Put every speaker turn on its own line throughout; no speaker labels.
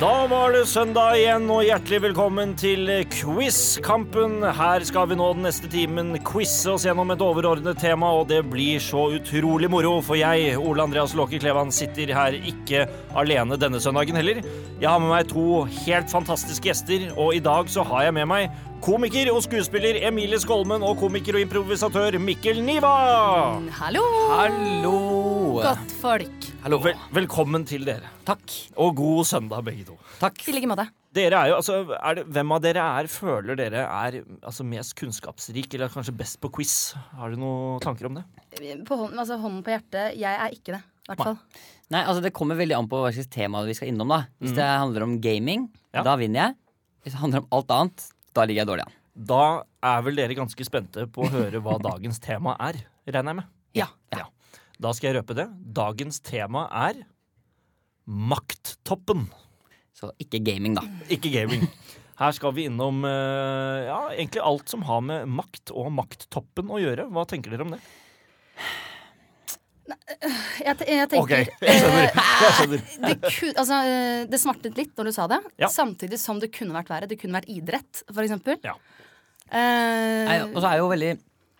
Da var det søndag igjen, og hjertelig velkommen til Quizkampen. Her skal vi nå den neste timen quize oss gjennom et overordnet tema, og det blir så utrolig moro, for jeg, Ole Andreas Låke Klevan, sitter her ikke alene denne søndagen heller. Jeg har med meg to helt fantastiske gjester, og i dag så har jeg med meg komiker og skuespiller Emilie Skolmen og komiker og improvisatør Mikkel Niva.
Hallo,
Hallo!
godt folk.
Hallo.
Vel velkommen til dere,
Takk.
og god søndag begge to.
Takk.
I like måte.
Dere er jo, altså, er det, Hvem av dere er, føler dere er altså, mest kunnskapsrik, eller kanskje best på quiz? Har du noen tanker om det?
På hånden, altså, hånden på hjertet, jeg er ikke det. I hvert fall.
Nei, altså Det kommer veldig an på hva slags tema vi skal innom. da Hvis det handler om gaming,
Mhm. Ja.
da vinner jeg. Hvis det handler om alt annet, da ligger jeg dårlig an.
Da er vel dere ganske spente på å høre hva dagens tema er, regner jeg med.
Ja.
Da skal jeg røpe det. Dagens tema er makttoppen.
Så ikke gaming, da.
Ikke gaming. Her skal vi innom eh, ja, egentlig alt som har med makt og makttoppen å gjøre. Hva tenker dere om det?
Jeg, te- jeg tenker
jeg skjønner. Jeg skjønner.
det, ku, altså, eh, det smartet litt når du sa det,
Ja.
samtidig som det kunne vært verre. Det kunne vært idrett, for eksempel.
Ja. altså,
Nei,
Eh,
Og så er jeg jo veldig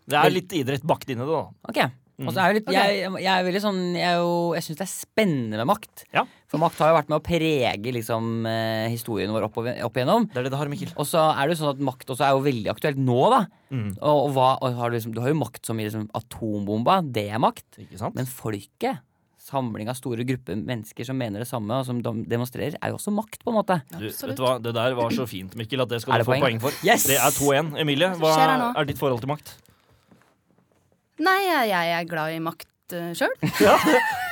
Det er litt idrett bakt inn i det, da.
Ok. Og så er jeg, jo litt, jeg, jeg er veldig sånn Jeg, er jo- jeg syns det er spennende med makt.
Ja.
For makt har jo vært med å prege liksom, eh, historien vår oppover- opp igjennom.
Det er det det har, Mikkel.
Og så er det jo sånn at makt også er jo veldig aktuelt nå, da.
Mm.
Og, og hva, og har du, liksom, du har jo makt som i liksom, atombomba. Det er makt.
Ikke sant?
Men folket, samling av store grupper mennesker som mener det samme, og som dem- demonstrerer, er jo også makt, på en måte.
Du,
Absolutt.
vet du hva? Det der var så fint, Mikkel, at det skal du
Er det
få
poeng?
poeng for.
Yes!
Det er 2-1. Emilie, hva
skjer her nå?
er ditt forhold til makt?
Nei, jeg, jeg er glad i makt uh, sjøl.
Ja,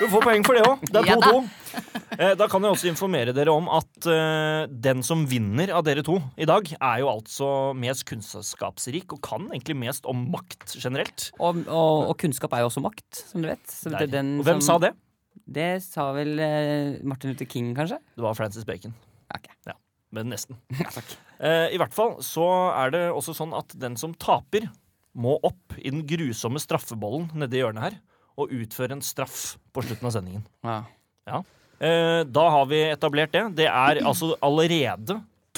Du får poeng for det òg. Det
Ja
er 2-2. Eh, Da kan jeg også informere dere om at eh, den som vinner av dere to i dag, er jo altså mest kunnskapsrik og kan egentlig mest om makt generelt.
Og, og, og kunnskap er jo også makt, som du vet. Så
Der.
det er den
Og hvem sa
som-
det?
Det sa vel eh, Martin Luther King, kanskje?
Det var Francis Bacon.
Ok.
Ja, men nesten.
takk.
Eh, I hvert fall så er det også sånn at den som taper, må opp i den grusomme straffebollen nedi hjørnet her og utføre en straff på slutten av sendingen.
Ja.
Ja. Eh, da har vi etablert det. Det er altså allerede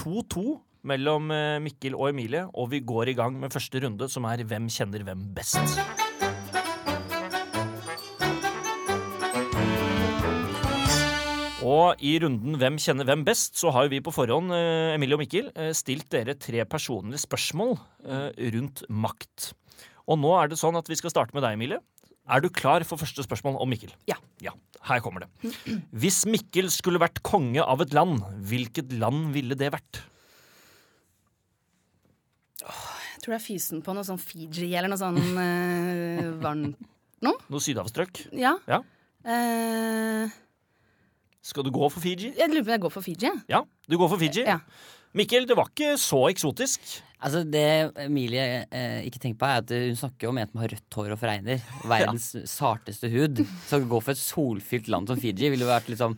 2-2 mellom eh, Mikkel og Emilie, og vi går i gang med første runde, som er Hvem kjenner hvem best? Og i runden Hvem kjenner hvem best, så har jo vi på forhånd, eh, Emilie og Mikkel, eh, stilt dere tre personlige spørsmål eh, rundt makt. Og nå er det sånn at vi skal starte med deg, Emilie. Er du klar for første spørsmål om Mikkel?
Ja.
Ja, Her kommer det. Hvis Mikkel skulle vært konge av et land, hvilket land ville det vært?
Jeg tror det er fysen på noe sånn Fiji eller noe sånn eh, varmt noe.
Noe sydhavstrøk?
Ja.
Ja.
Eh,
Skal du gå for Fiji?
jeg lurer på om jeg går for Fiji. jeg.
Ja, du går for Fiji.
Ja.
Mikkel, det var ikke så eksotisk.
Altså Det Emilie eh, ikke tenker på, er at hun snakker jo om en som har rødt hår og fregner. Verdens sarteste hud. Så å gå for et solfylt land som Fiji ville jo vært liksom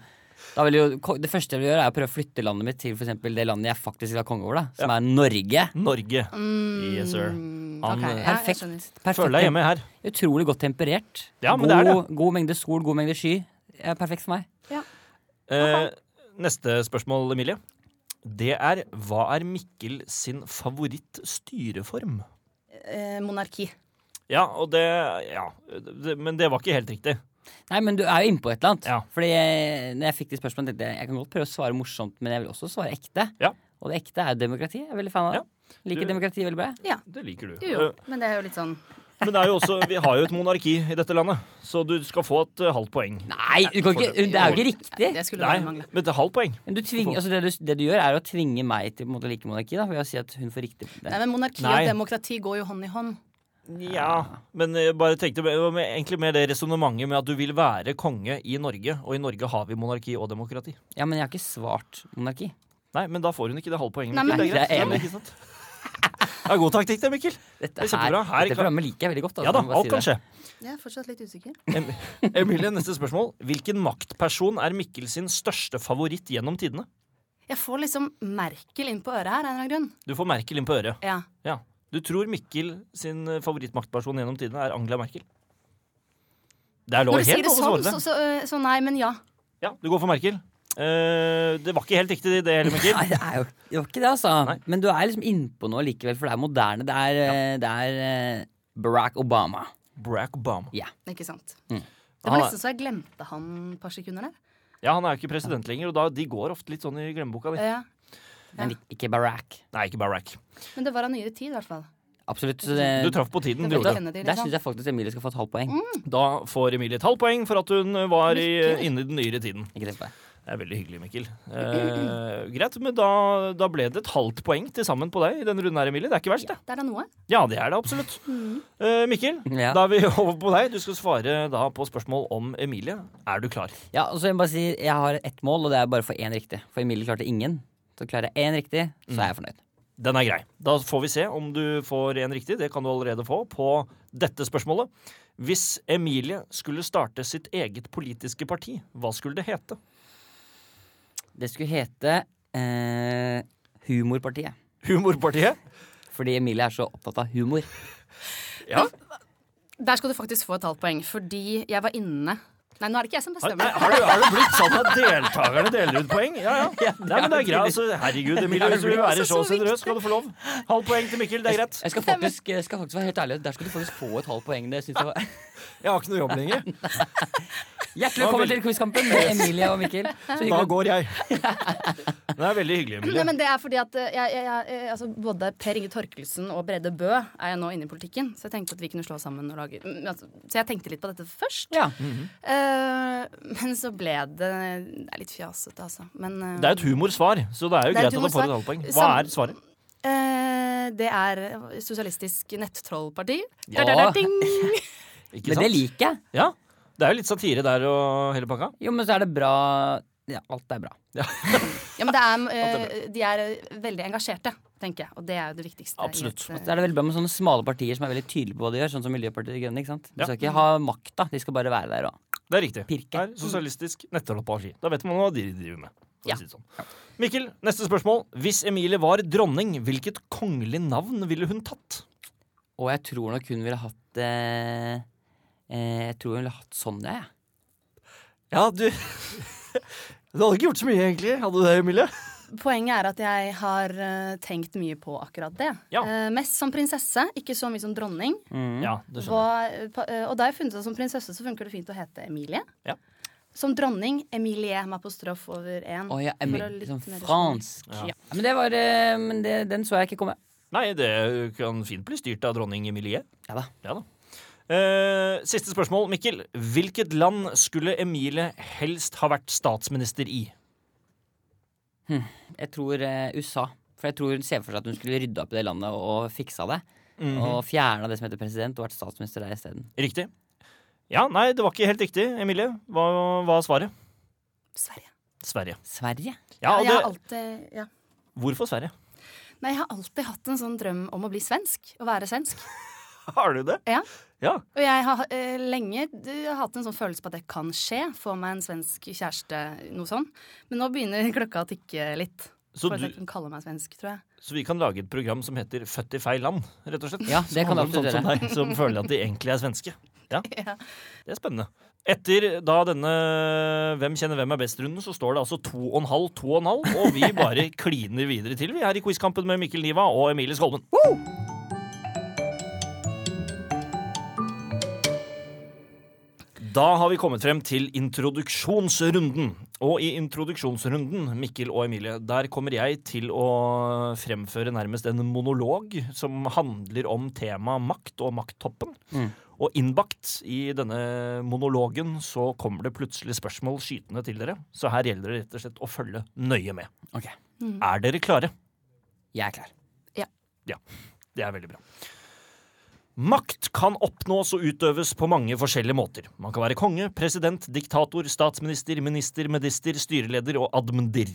da vil jo, ko- det første jeg vil gjøre, er å prøve å flytte landet mitt til for eksempel det landet jeg faktisk vil ha konge over, da, som er Norge.
Norge. Yes, sir. Han eh,
ok, ja. Mm. jeg
Perfekt.
skjønner.
perfekt
føler deg hjemme her.
tem- Utrolig godt temperert.
Ja, men
god,
det er
god mengde sol, god mengde sky. Ja, perfekt for meg.
Eh, neste spørsmål, Emilie. Det er hva er Mikkel sin favorittstyreform?
Eh, monarki.
Ja, og det Ja, det, men det var ikke helt riktig.
Nei, men du er jo inne på et eller annet.
Ja.
Fordi jeg, når jeg fikk de spørsmålene, tenkte jeg jeg kan godt prøve å svare morsomt, men jeg vil også svare ekte.
Ja.
Og det ekte er jo demokrati. Jeg er veldig fan av det. Liker
Du-
demokrati veldig bra. jeg.
Det liker du.
Jo, jo. Men det er jo litt sånn
Eh, Men det er jo også, vi har jo et monarki i dette landet, så du skal få et eh, halvt poeng.
Nei, du kan ikke, det er jo ikke riktig!
Det skulle
Nei,
bare mangle.
men et halvt poeng.
Men du tvinger, altså det, du, det du gjør, er å tvinge meg til på en måte, å like monarki da, ved å si at hun får riktig. på
Nei,
Det.
men Monarki
Nei.
og demokrati går jo hånd i hånd.
Ja, men jeg bare tenkte det var med- egentlig mer det resonnementet med at du vil være konge i Norge, og i Norge har vi monarki og demokrati.
Ja, Men jeg har ikke svart monarki.
Nei, men da får hun ikke det halve poenget.
Nei,
Mikkel. det er
men-
greit.
Jeg er
Ja,
enig.
ikke sant? Ja, god taktikk det, Mikkel.
Dette,
Det er kjempebra. Her
dette
kan-
programmet liker jeg veldig godt. altså,
Ja da,
jeg må bare
alt
si
kan
det.
skje.
Jeg er fortsatt litt usikker.
Em- Emilie, neste spørsmål. Hvilken maktperson er Mikkel sin største favoritt gjennom tidene?
Jeg får liksom Merkel inn på øret her, av en eller annen grunn.
Du får Merkel inn på øret.
Ja.
Ja. Du tror Mikkel sin eh, favorittmaktperson gjennom tidene er Angela Merkel? Det er lov
Når du
helt
sier det
lov å
sånn,
svare
så,
det.
så, øh, så nei, men ja.
Ja, du går for Merkel? Eh, det var ikke helt riktig, det heller, Mikkel.
Nei, det er jo det var ikke det, altså.
Nei.
Men du er liksom innpå noe likevel, for det er moderne. Det er, eh, det er eh, Barack Obama.
Barack Obama.
Ikke sant.
Mm.
Det
Han
var
er-
nesten så jeg glemte han et par sekunder der.
Ja, han er jo ikke president lenger, og da, de går ofte litt sånn i glemmeboka di.
Ja.
Men ik- ikke Barack.
Nei, ikke Barack.
Men det var av nyere tid, i hvert fall.
Absolutt. Så det,
Du traff på tiden, du
Eh, Det vet
gjorde
jeg. Kennedy,
der
liksom. Mm.
syns jeg faktisk Emilie skal få et halvt poeng.
det. Da får Emilie et halvt poeng for at hun var i,
Lykke.
inne i den nyere tiden.
Ikke tenk på det.
Det er veldig hyggelig, Mikkel. Eh, greit, men da, da ble det et halvt poeng til sammen på deg i denne runden her, Emilie. Det er ikke verst, det.
Det er da noe.
Ja, det er det absolutt. Eh, Mikkel,
Ja.
da er vi over på deg. Du skal svare da på spørsmål om Emilie. Er du klar?
Ja, og så jeg, må bare si, jeg har ett mål, og det er bare å få én riktig. For Emilie klarte ingen. Så klarer jeg én riktig, så
Mm.
er jeg fornøyd.
Den er grei. Da får vi se om du får en riktig. Det kan du allerede få på dette spørsmålet. Hvis Emilie skulle starte sitt eget politiske parti, hva skulle det hete?
Det skulle hete eh, Humorpartiet.
Humorpartiet?
Fordi Emilie er så opptatt av humor.
Ja.
Der skal du faktisk få et halvt poeng, fordi jeg var inne Nei, nå er det ikke jeg som
Har, nei,
bestemmer.
har, det, har det blitt sånn at deltakerne deler ut poeng? Ja, ja. Nei, men det er greit. Altså, herregud, Emilie, hvis du vil være så generøs, skal du få lov. Halvt poeng til Mikkel, det er greit.
Jeg skal faktisk, jeg skal faktisk være helt ærlig, der skal du faktisk få et halvt poeng. Det synes jeg var.
Jeg har ikke noe jobb lenger.
Hjertelig velkommen til Quizkampen med Emilie og Mikkel. Så hyggelig.
Da går jeg. Det er veldig hyggelig,
Nei,
Emilie.
men det er fordi at eh, jeg, jeg, jeg, altså Både Per Inge Torkelsen og Brede Bø er jeg nå inne i politikken. Så jeg tenkte at vi kunne slå sammen og lage mm, altså, Så jeg tenkte litt på dette først.
Ja.
Mm,
Eh, men så ble det Det er litt fjasete, altså. Men eh,
Det er et humorsvar, så det er jo
Det er
greit at
et
du får et
humorsvar.
halvt poeng. Hva
Sam-
er svaret?
eh, det er Sosialistisk nettrollparti.
Ja.
Der, der, der, ding!
Ikke
Men det
sant?
liker jeg.
Ja. Det er jo litt satire der og hele pakka.
Jo, men så er det bra ja, Alt er bra.
Ja, men det er, eh, de er eh, veldig engasjerte, tenker jeg. Og det er jo det viktigste. i
Absolutt.
et, eh,
Så er det veldig bra med sånne smale partier som er veldig tydelige på hva de gjør. Sånn som Miljøpartiet De Grønne. ikke sant? De
Ja.
skal ikke ha makta, de skal bare være der og
Det er riktig.
Pirke.
Det er sosialistisk nettrollparti. Da vet man hva de driver med. for å
Ja.
si det sånn. Mikkel, neste spørsmål. Hvis Emilie var dronning, hvilket kongelig navn ville hun tatt?
Og jeg tror nok hun ville hatt eh, eh, Jeg tror hun ville hatt Sonja, jeg.
Ja, du Du hadde ikke gjort så mye, egentlig. Hadde du det, Emilie?
Poenget er at jeg har eh, tenkt mye på akkurat det.
Ja.
Eh, mest som prinsesse, ikke så mye som dronning.
Mm.
Ja, det skjønner jeg.
Hva, eh, pa- eh, og da jeg funnet ut at som prinsesse så funker det fint å hete Emilie.
Ja.
Som dronning Emilie Mapostrof over én.
Å ja,
For å
Emil,
litt
liksom
mer-
fransk.
Ja.
Ja. Men det var eh, Men det, den så jeg ikke komme.
Nei, det kan fint bli styrt av dronning Emilie.
Ja da.
Ja da. Eh, siste spørsmål, Mikkel. Hvilket land skulle Emilie helst ha vært statsminister i?
Jeg tror eh, USA. For jeg tror hun ser for seg at hun skulle rydda opp i det landet og fiksa det.
Mhm.
Og fjerna det som heter president, og vært statsminister der isteden.
Riktig. Ja, nei, det var ikke helt riktig, Emilie. Hva var svaret?
Sverige.
Sverige.
Sverige?
Ja, og
jeg har
det,
alltid, ja.
hvorfor Sverige?
Nei, jeg har alltid hatt en sånn drøm om å bli svensk. Å være svensk.
Har du det?
Ja.
Ja,
Og jeg har eh, lenge eh, hatt en sånn følelse på at det kan skje. Få meg en svensk kjæreste, noe sånn. Men nå begynner klokka å tikke litt.
så,
for at
du,
jeg kan kalle meg svensk, tror jeg.
så vi kan lage et program som heter Født i feil land, rett og slett.
Ja, det
Som
kan
handler om sånne
du
Som, deg, som føler at de egentlig er svenske. Ja,
Ja.
Det er spennende. Etter da denne Hvem kjenner hvem er best-runden, så står det altså 2,5, 2,5, og vi bare kliner videre til, vi, her i Quizkampen med Mikkel Niva og Emilie Skolmen. Da har vi kommet frem til introduksjonsrunden. Og i introduksjonsrunden, Mikkel og Emilie, der kommer jeg til å fremføre nærmest en monolog som handler om temaet makt og makttoppen. Og innbakt i denne monologen så kommer det plutselig spørsmål skytende til dere. Så her gjelder det rett og slett å følge nøye med.
Ok,
Er dere klare?
jeg er klar.
Det er veldig bra. Makt kan oppnås og utøves på mange forskjellige måter. Man kan være konge, president, diktator, statsminister, minister, medister, styreleder og admendir.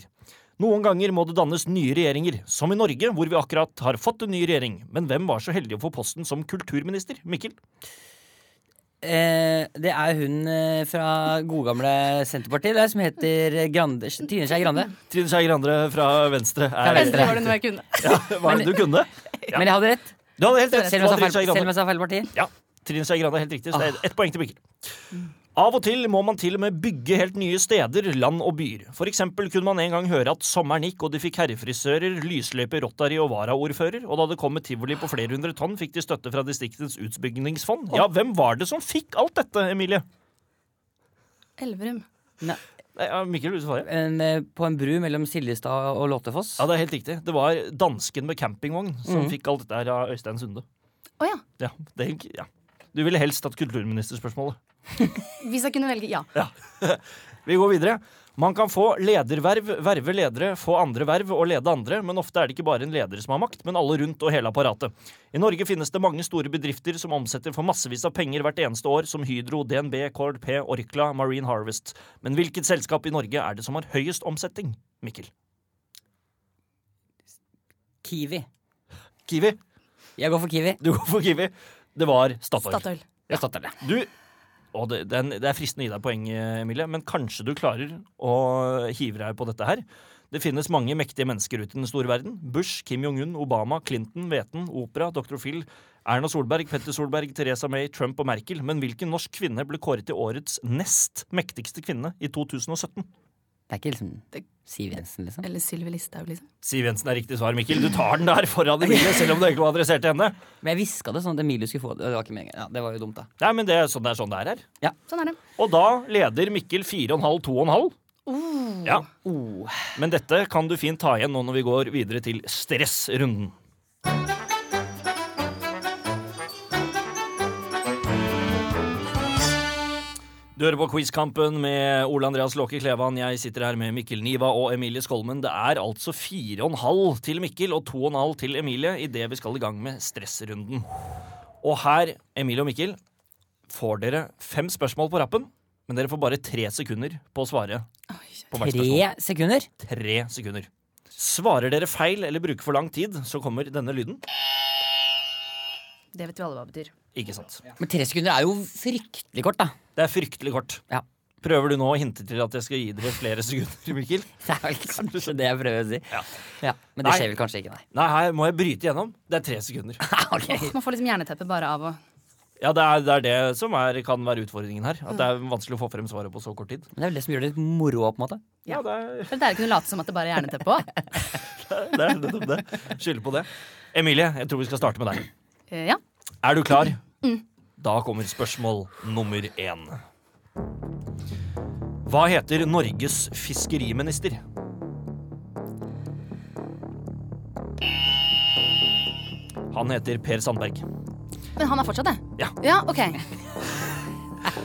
Noen ganger må det dannes nye regjeringer, som i Norge, hvor vi akkurat har fått en ny regjering. Men hvem var så heldig å få posten som kulturminister? Mikkel?
Eh, det er hun eh, fra godgamle Senterpartiet der, som heter Grande, Trine Skei Grande.
Trine Skei Grande fra Venstre.
Fra Venstre.
Endelig var det noe jeg kunne.
Ja, hva er det du kunne? Ja.
Men jeg hadde rett,
Du hadde helt rett.
selv
det
om
var Trine Skei
jeg sa feil, selv om
Grande.
jeg sa feil parti.
Ah. Ja, Trine Skei Grande er helt riktig, så det er ett poeng til Mikkel. Av og til må man til og med bygge helt nye steder, land og byer. For eksempel kunne man en gang høre at sommeren gikk, og de fikk herrefrisører, lysløype, rotary og varaordfører, og da det kom et tivoli på flere hundre tonn, fikk de støtte fra distriktets utbyggingsfond. Ja, hvem var det som fikk alt dette, Emilie?
Elverum.
Nei, ja, Mikkel, vil du svare?
En, eh, på en bru mellom Siljestad og Låtefoss.
Ja, det er helt riktig. Det var dansken med campingvogn som
Mhm.
fikk alt dette her av Øystein Sunde.
Å ja.
Ja, det, ja. Du ville helst hatt kulturministerspørsmålet.
Hvis jeg kunne velge, ja.
Vi går videre. Man kan få lederverv, verve ledere, få andre verv og lede andre, men ofte er det ikke bare en leder som har makt, men alle rundt og hele apparatet. I Norge finnes det mange store bedrifter som omsetter for massevis av penger hvert eneste år, som Hydro, DNB, KLP, Orkla, Marine Harvest. Men hvilket selskap i Norge er det som har høyest omsetning? Mikkel.
Kiwi.
Kiwi.
Jeg går for Kiwi.
Du går for Kiwi. Det var Statoil.
Statoil.
Jeg støtter det.
Du og det, det er en- det er fristende å gi deg poeng, eh, Emilie, men kanskje du klarer å hive deg på dette her. Det finnes mange mektige mennesker ute i den store verden. Bush, Kim Jong-un, Obama, Clinton, Veten, Opera, Dr. Phil, Erna Solberg, Petter Solberg, Teresa May, Trump og Merkel. Men hvilken norsk kvinne ble kåret til årets nest mektigste kvinne i 2017?
Det er ikke liksom
Det-
Siv Jensen, liksom.
Eller Sylvi Listhaug, liksom.
Siv Jensen er riktig svar, Mikkel. Du tar den der foran Emilie, selv om du egentlig var adressert til henne.
Men jeg hviska det sånn at Emilie skulle få det. og Det var ikke meningen. Ja, det var jo dumt, da.
Nei, men det er sånn det er, sånn det er her.
Sånn er det.
Og da leder Mikkel 4,5-2,5. Ja. Men dette kan du fint ta igjen nå når vi går videre til stressrunden. Du hører på Quizkampen med Ole Andreas Låke Klevan. Jeg sitter her med Mikkel Niva og Emilie Skolmen. Det er altså 4,5 til Mikkel og 2,5 til Emilie idet vi skal i gang med stressrunden. Og her, Emilie og Mikkel, får dere fem spørsmål på rappen. Men dere får bare tre sekunder på å svare på hvert spørsmål
Tre sekunder.
tre sekunder. Svarer dere feil eller bruker for lang tid, så kommer denne lyden.
Det vet vi alle hva det betyr.
Ikke sant.
Men tre sekunder er jo fryktelig kort, da.
Det er fryktelig kort.
Ja.
Prøver du nå å hinte til at jeg skal gi dere flere sekunder, Mikkel?
Det er vel kanskje det jeg prøver å si.
Ja.
Ja, men det
Nei.
skjer vel kanskje ikke, nei.
Nei, her må jeg bryte gjennom. Det er tre sekunder.
Ok.
Man får liksom jerneteppe bare av å
Ja, det er det, er det som er, kan være utfordringen her. At det er vanskelig å få frem svaret på så kort tid.
Men det er vel det som gjør det litt moro, på en måte.
Ja, det er,
For det er ikke noe å late som at det bare er jerneteppe òg.
det er nettopp det. Skylder på det. Emilie, jeg tror vi skal starte med deg.
Eh, Ja.
Er du klar? Da kommer spørsmål nummer én. Hva heter Norges fiskeriminister? Han heter Per Sandberg.
Men han er fortsatt det?
Ja.
ja ok.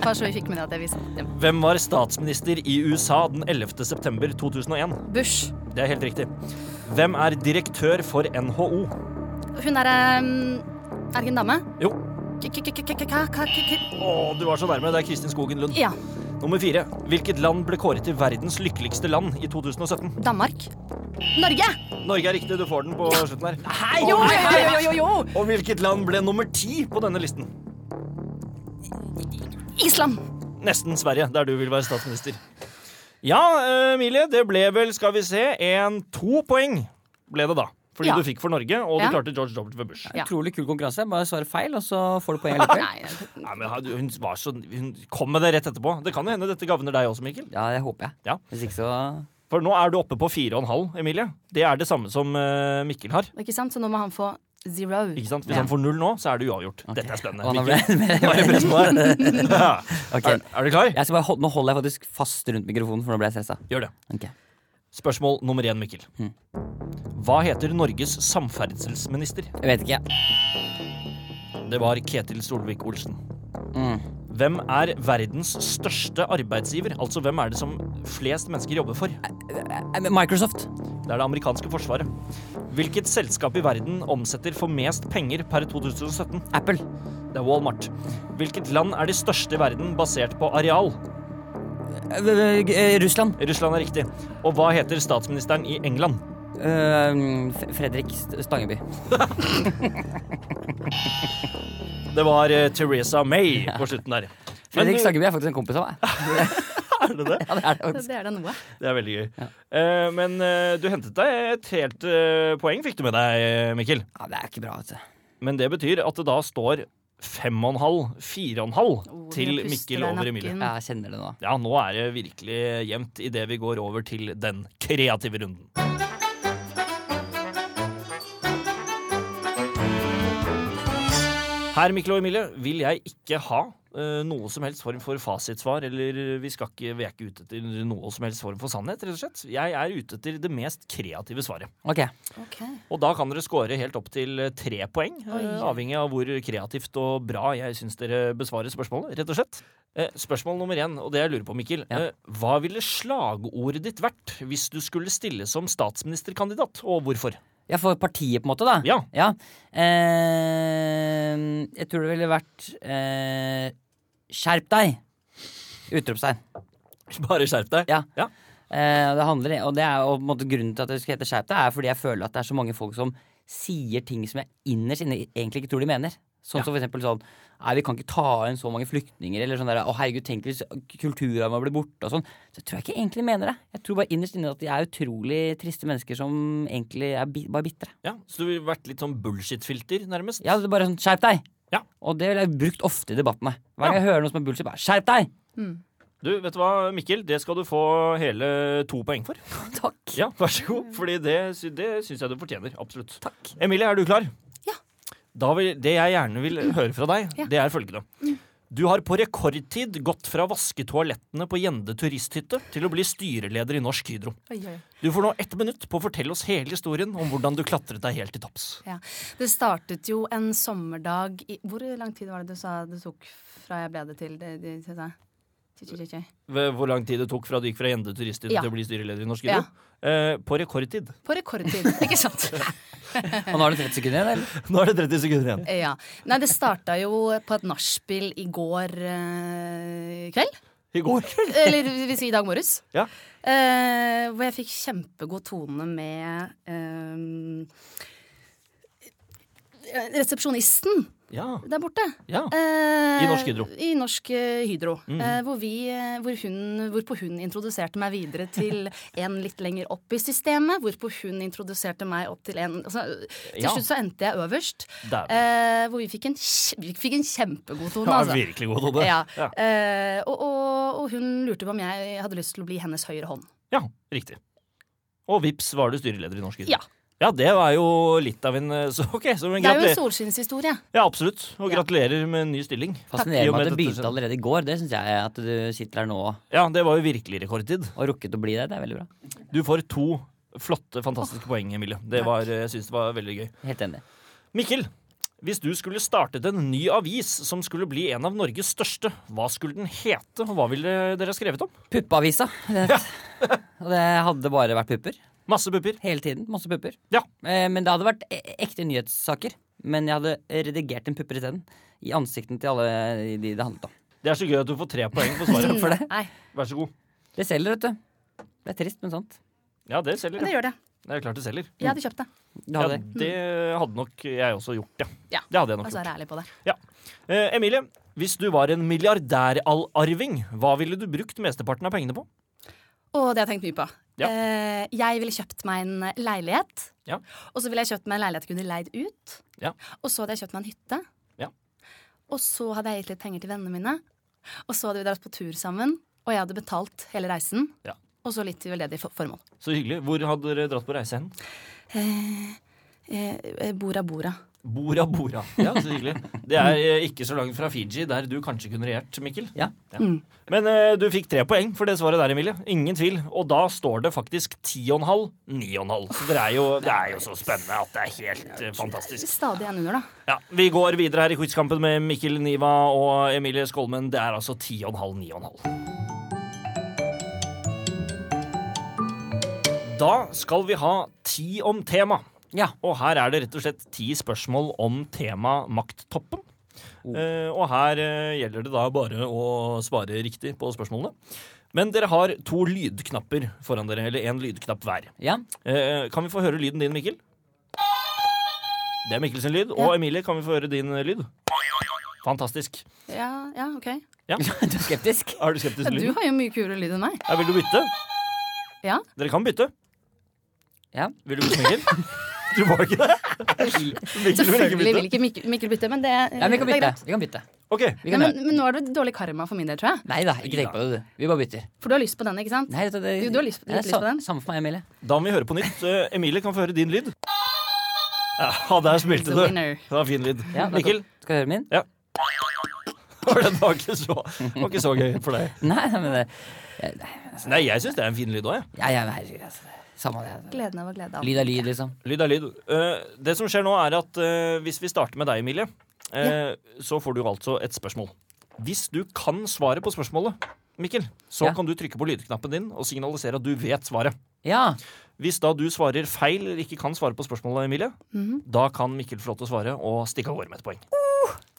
Bare så vi fikk med det at jeg visste det.
Hvem var statsminister i USA den 11. september 2001?
Bush.
Det er helt riktig. Hvem er direktør for NHO?
Hun er um, Er ikke en dame?
Jo.
K- k- k- k- k- k- k- k-
Å, du var så nærme. Det er Kristin Skogen Lund.
Ja.
Nummer fire. Hvilket land ble kåret til verdens lykkeligste land i 2017?
Danmark. Norge!
Norge er riktig, du får den på slutten her.
Hei,
Jo, jo, jo, jo, jo, jo.
Og hvilket land ble nummer ti på denne listen?
Island.
Nesten Sverige, der du vil være statsminister. Ja, eh, Emilie, det ble vel, skal vi se, en to poeng ble det da. Fordi
Ja.
du fikk for Norge, og du
Ja.
klarte George W. Bush.
Ja.
Utrolig kul konkurranse. Bare svar feil, og så får du poeng likevel.
Nei, jeg-
Nei, men ha- hun, var så, hun kom med det rett etterpå. Det kan jo hende dette gagner deg også, Mikkel.
Ja, det håper jeg.
Ja.
Hvis ikke så
For nå er du oppe på fire og en halv, Emilie. Det er det samme som eh, Mikkel har.
ikke sant? Så nå må han få zero.
Ikke sant? Hvis
Ja.
han får null nå, så er det uavgjort.
Ok.
Dette er
Å, nå
spennende.
ble
Mikkel,
jeg mer-
bare press på deg. Ja.
Ok.
er, er du klar?
Jeg skal bare hold, nå holder jeg faktisk fast rundt mikrofonen, for nå ble jeg stressa.
Gjør det.
Ok.
Spørsmål nummer én, Mikkel. Hva heter Norges samferdselsminister?
Jeg vet ikke.
Det var Ketil Solvik-Olsen.
Mm.
Hvem er verdens største arbeidsgiver? Altså, hvem er det som flest mennesker jobber for? Det
Eh, Microsoft.
er det amerikanske forsvaret. Hvilket selskap i verden omsetter for mest penger per 2017?
Apple. Eh,
Det er Walmart. Hvilket land er de største i verden basert på areal?
Eh, eh, eh, Russland.
Russland er riktig. Og hva heter statsministeren i England?
Eh, F- Fredrik St- Stangeby.
Det var eh, Theresa May på slutten der.
Fredrik
Men, eh,
Stangeby er faktisk en kompis av meg.
er det det?
Ja, det er det
Det
faktisk.
er da noe.
Det er veldig gøy. Eh, men eh, du hentet deg et helt eh, poeng, fikk du med deg, Mikkel.
Ja, det er ikke bra, vet du.
Men det betyr at det da står fem og en halv, fire og en halv
Oh,
til
begynner å puste
Mikkel
deg i
over Emilie.
nakken.
Jeg kjenner det nå.
Ja, nå er det virkelig jevnt idet vi går over til den kreative runden. Her, Mikkel og Emilie, vil jeg ikke ha eh, noe som helst form for fasitsvar, eller vi, skal ikke, vi er ikke ute etter noe som helst form for sannhet, rett og slett. Jeg er ute etter det mest kreative svaret.
Ok.
Ok.
Og da kan dere score helt opp til tre poeng, eh,
Oi.
avhengig av hvor kreativt og bra jeg syns dere besvarer spørsmålet, rett og slett. Eh, Spørsmål nummer én, og det jeg lurer på, Mikkel.
Ja.
eh, Hva ville slagordet ditt vært hvis du skulle stille som statsministerkandidat, og hvorfor?
Ja, for partiet, på en måte, da.
Ja.
Eh, jeg tror det ville vært eh, Skjerp deg! Utropstegn.
Bare skjerp deg.
Ja.
Ja.
Eh, og det handler, og det er, og på en måte, grunnen til at det skulle hete Skjerp deg, er fordi jeg føler at det er så mange folk som sier ting som jeg innerst inne egentlig ikke tror de mener. Sånn som for eksempel sånn Nei, vi kan ikke ta inn så mange flyktninger. Eller sånn der Å, herregud, tenk hvis kulturarven blir borte og sånn. Så jeg tror jeg ikke egentlig de mener det. Jeg tror bare innerst inne at de er utrolig triste mennesker som egentlig er bi bare bitre.
ja. Så du ville vært litt sånn bullshit-filter, nærmest?
Ja, det er bare sånn, skjerp deg!
Ja.
Og det ville jeg brukt ofte i debattene. Hver gang jeg hører noe som er bullshit, bare skjerp deg!
Du, vet du hva, Mikkel? Det skal du få hele to poeng for.
Takk.
Ja, vær så god. Fordi det, sy- det syns jeg du fortjener. Absolutt. Takk. Emilie, er du klar?
Ja.
Da vil, det jeg gjerne vil høre fra deg,
Ja.
det er følgende. Du har på rekordtid gått fra å vaske toalettene på Gjende turisthytte til å bli styreleder i Norsk Hydro.
Oi, oi, oi.
Du får nå ett minutt på å fortelle oss hele historien om hvordan du klatret deg helt til topps.
Ja. Det startet jo en sommerdag i Hvor lang tid var det du sa det tok fra jeg ble det til det, det, det, det? Tji, tji, tji, tji.
Ved Hvor lang tid det tok fra du gikk fra Gjende turisthytte
Ja.
til å bli styreleder i Norsk Hydro? Eh, på rekordtid.
På rekordtid, ikke sant?
Og nå har du 30 sekunder igjen, eller?
Nå er det 30 sekunder igjen.
Ja. Nei, det starta jo på et nachspiel i går eh, kveld.
I går kveld.
Eller vi sier i dag morges.
Ja.
Eh, hvor jeg fikk kjempegod tone med eh, resepsjonisten
Ja.
der borte.
ja.
Eh,
I Norsk Hydro. Mhm.
I Norsk eh, Hydro. Eh, hvor vi, eh, hvor hun, hvorpå hun introduserte meg videre til en litt lenger opp i systemet. Hvorpå hun introduserte meg opp til en altså, Til
Ja.
slutt så endte jeg øverst.
Dæven.
Eh, hvor vi fikk en, kje- vi fikk en kjempegod tone,
ja
altså.
virkelig god hode.
Ja.
Ja.
Eh, og, og, og hun lurte på om jeg hadde lyst til å bli hennes høyre hånd.
Ja, riktig. Og vips var du styreleder i Norsk Hydro.
Ja.
Ja, det var jo litt av en eh, Så ok, så men
Det er jo en
gratulerer.
solskinnshistorie.
Ja, absolutt. Og
Ja.
gratulerer med en ny stilling. I og
Fascinerende
med
at det
dette
begynte allerede i går. Det syns jeg at du sitter der nå og
Ja, det var jo virkelig rekordtid.
rukket å bli der. Det er veldig bra.
Du får to flotte, fantastiske poeng, Emilie. Det
Takk.
var, eh, jeg syns det var veldig gøy.
Helt enig.
Mikkel, hvis du skulle startet en ny avis som skulle bli en av Norges største, hva skulle den hete, og hva ville dere skrevet om?
Puppeavisa. det het. Og det hadde bare vært pupper.
Masse pupper.
Hele tiden. Masse pupper.
Ja.
Eh, Men det hadde vært e- ekte nyhetssaker. Men jeg hadde redigert en pupper isteden. I ansikten til alle de det handlet om.
Det er så gøy at du får tre poeng for svaret.
for det.
Nei,
Vær så god.
Det selger, vet du. Det er trist, men sant.
Ja, det selger.
men det
ja.
gjør det.
Det er klart det selger.
Jeg hadde kjøpt det.
Du
Ja,
hadde det.
det hadde nok jeg også gjort, ja.
Ja.
Det hadde jeg nok
Altså,
gjort.
jeg er ærlig på det.
Eh, Emilie, hvis du var en milliardærarving, hva ville du brukt mesteparten av pengene på?
Og det har jeg tenkt mye på.
Ja.
Eh, jeg ville kjøpt meg en leilighet.
Ja.
Og så ville jeg kjøpt meg en leilighet jeg kunne leid ut.
Ja.
Og så hadde jeg kjøpt meg en hytte.
Ja.
Og så hadde jeg gitt litt penger til vennene mine. Og så hadde vi dratt på tur sammen. Og jeg hadde betalt hele reisen.
Ja.
Og så litt til veldedige for- formål.
Så hyggelig. Hvor hadde dere dratt på reise hen?
Eh, eh, bora Bora.
Bora Bora. Ja, så hyggelig. Det er eh, ikke så langt fra Fiji, der du kanskje kunne regjert, Mikkel.
Ja.
Men eh, du fikk tre poeng for det svaret der, Emilie. Ingen tvil. Og da står det faktisk ti og en halv, ni og en halv. Så dere er jo, det er jo så spennende at det er helt eh, fantastisk.
Stadig en under, da.
Ja, Vi går videre her i quizkampen med Mikkel Niva og Emilie Skolmen. Det er altså 10,5, 9,5. Da skal vi ha ti om tema.
Ja.
Og her er det rett og slett ti spørsmål om tema makttoppen. Eh, og her eh, gjelder det da bare å svare riktig på spørsmålene. Men dere har to lydknapper foran dere, eller én lydknapp hver.
ja.
Eh, kan vi få høre lyden din, Mikkel? Det er Mikkels lyd. Og Emilie, kan vi få høre din eh, lyd? Fantastisk.
Ja, ja, ok.
Du er skeptisk?
Er du skeptisk
Ja,
til
du
lyden?
har jo mye kulere lyd enn meg.
Ja, vil du bytte?
Ja.
Dere kan bytte.
Ja.
Vil du bytte, Mikkel? Du må ikke det? Mikkel vil ikke
Selvfølgelig vil
bytte.
ikke Mikkel, Mikkel bytte, men det,
Ja, vi kan
det er
bytte.
greit.
Vi kan bytte.
Ok,
Vi
Ja,
kan
men, men nå er det dårlig karma for min del, tror jeg.
Nei da, ikke tenk på det, du. Vi bare bytter.
For du har lyst på den, ikke sant?
Nei, det, det,
Jo, du har lyst-
Nei, det er
litt lyst på den.
Samme for meg, Emilie.
Da må vi høre på nytt. Eh, Emilie, kan få høre din lyd? Ja, der smilte
The
du.
winner.
Det var fin lyd.
Ja, da kan-
Mikkel,
Skal jeg høre min?
var det var ikke så, det var ikke så gøy for deg.
Nei, nei, men det
Nei, jeg syns det er en fin lyd òg, jeg.
Ja, ja, men herregud, altså. Samme det.
Gleden av å glede av.
Lyd er lyd, liksom.
Lyd er lyd. Eh, det som skjer nå, er at eh, hvis vi starter med deg, Emilie, eh, så får du altså et spørsmål. Hvis du kan svaret på spørsmålet, Mikkel, så
Ja.
kan du trykke på lydknappen din og signalisere at du vet svaret.
Ja.
Hvis da du svarer feil eller ikke kan svare på spørsmålet, Emilie,
Mhm.
da kan Mikkel få lov til å svare og stikke av gårde med et poeng.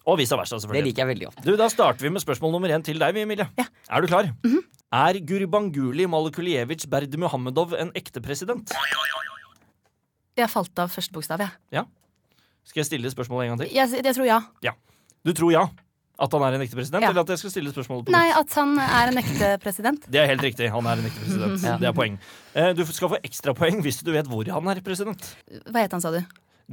Og vice versa,
Uh! Det
selvfølgelig.
liker jeg veldig godt.
Du, Da starter vi med spørsmål nummer én til deg, vi, Emilie. Er du klar?
Mhm.
Er Gurbanguly Malikulievitsj Berd Muhammedov en ekte president?
Jeg falt av første bokstav, jeg.
Skal jeg stille spørsmålet en gang til?
Jeg, s- jeg tror ja.
Du tror ja? At han er en ekte president?
Ja.
Eller at jeg skal stille spørsmålet på
Nei,
nytt?
at han er en ekte president.
Det er helt riktig. Han er en ekte president.
Ja.
Det er poeng. Eh, Du skal få ekstrapoeng hvis du vet hvor han er president.
Hva het han, sa du?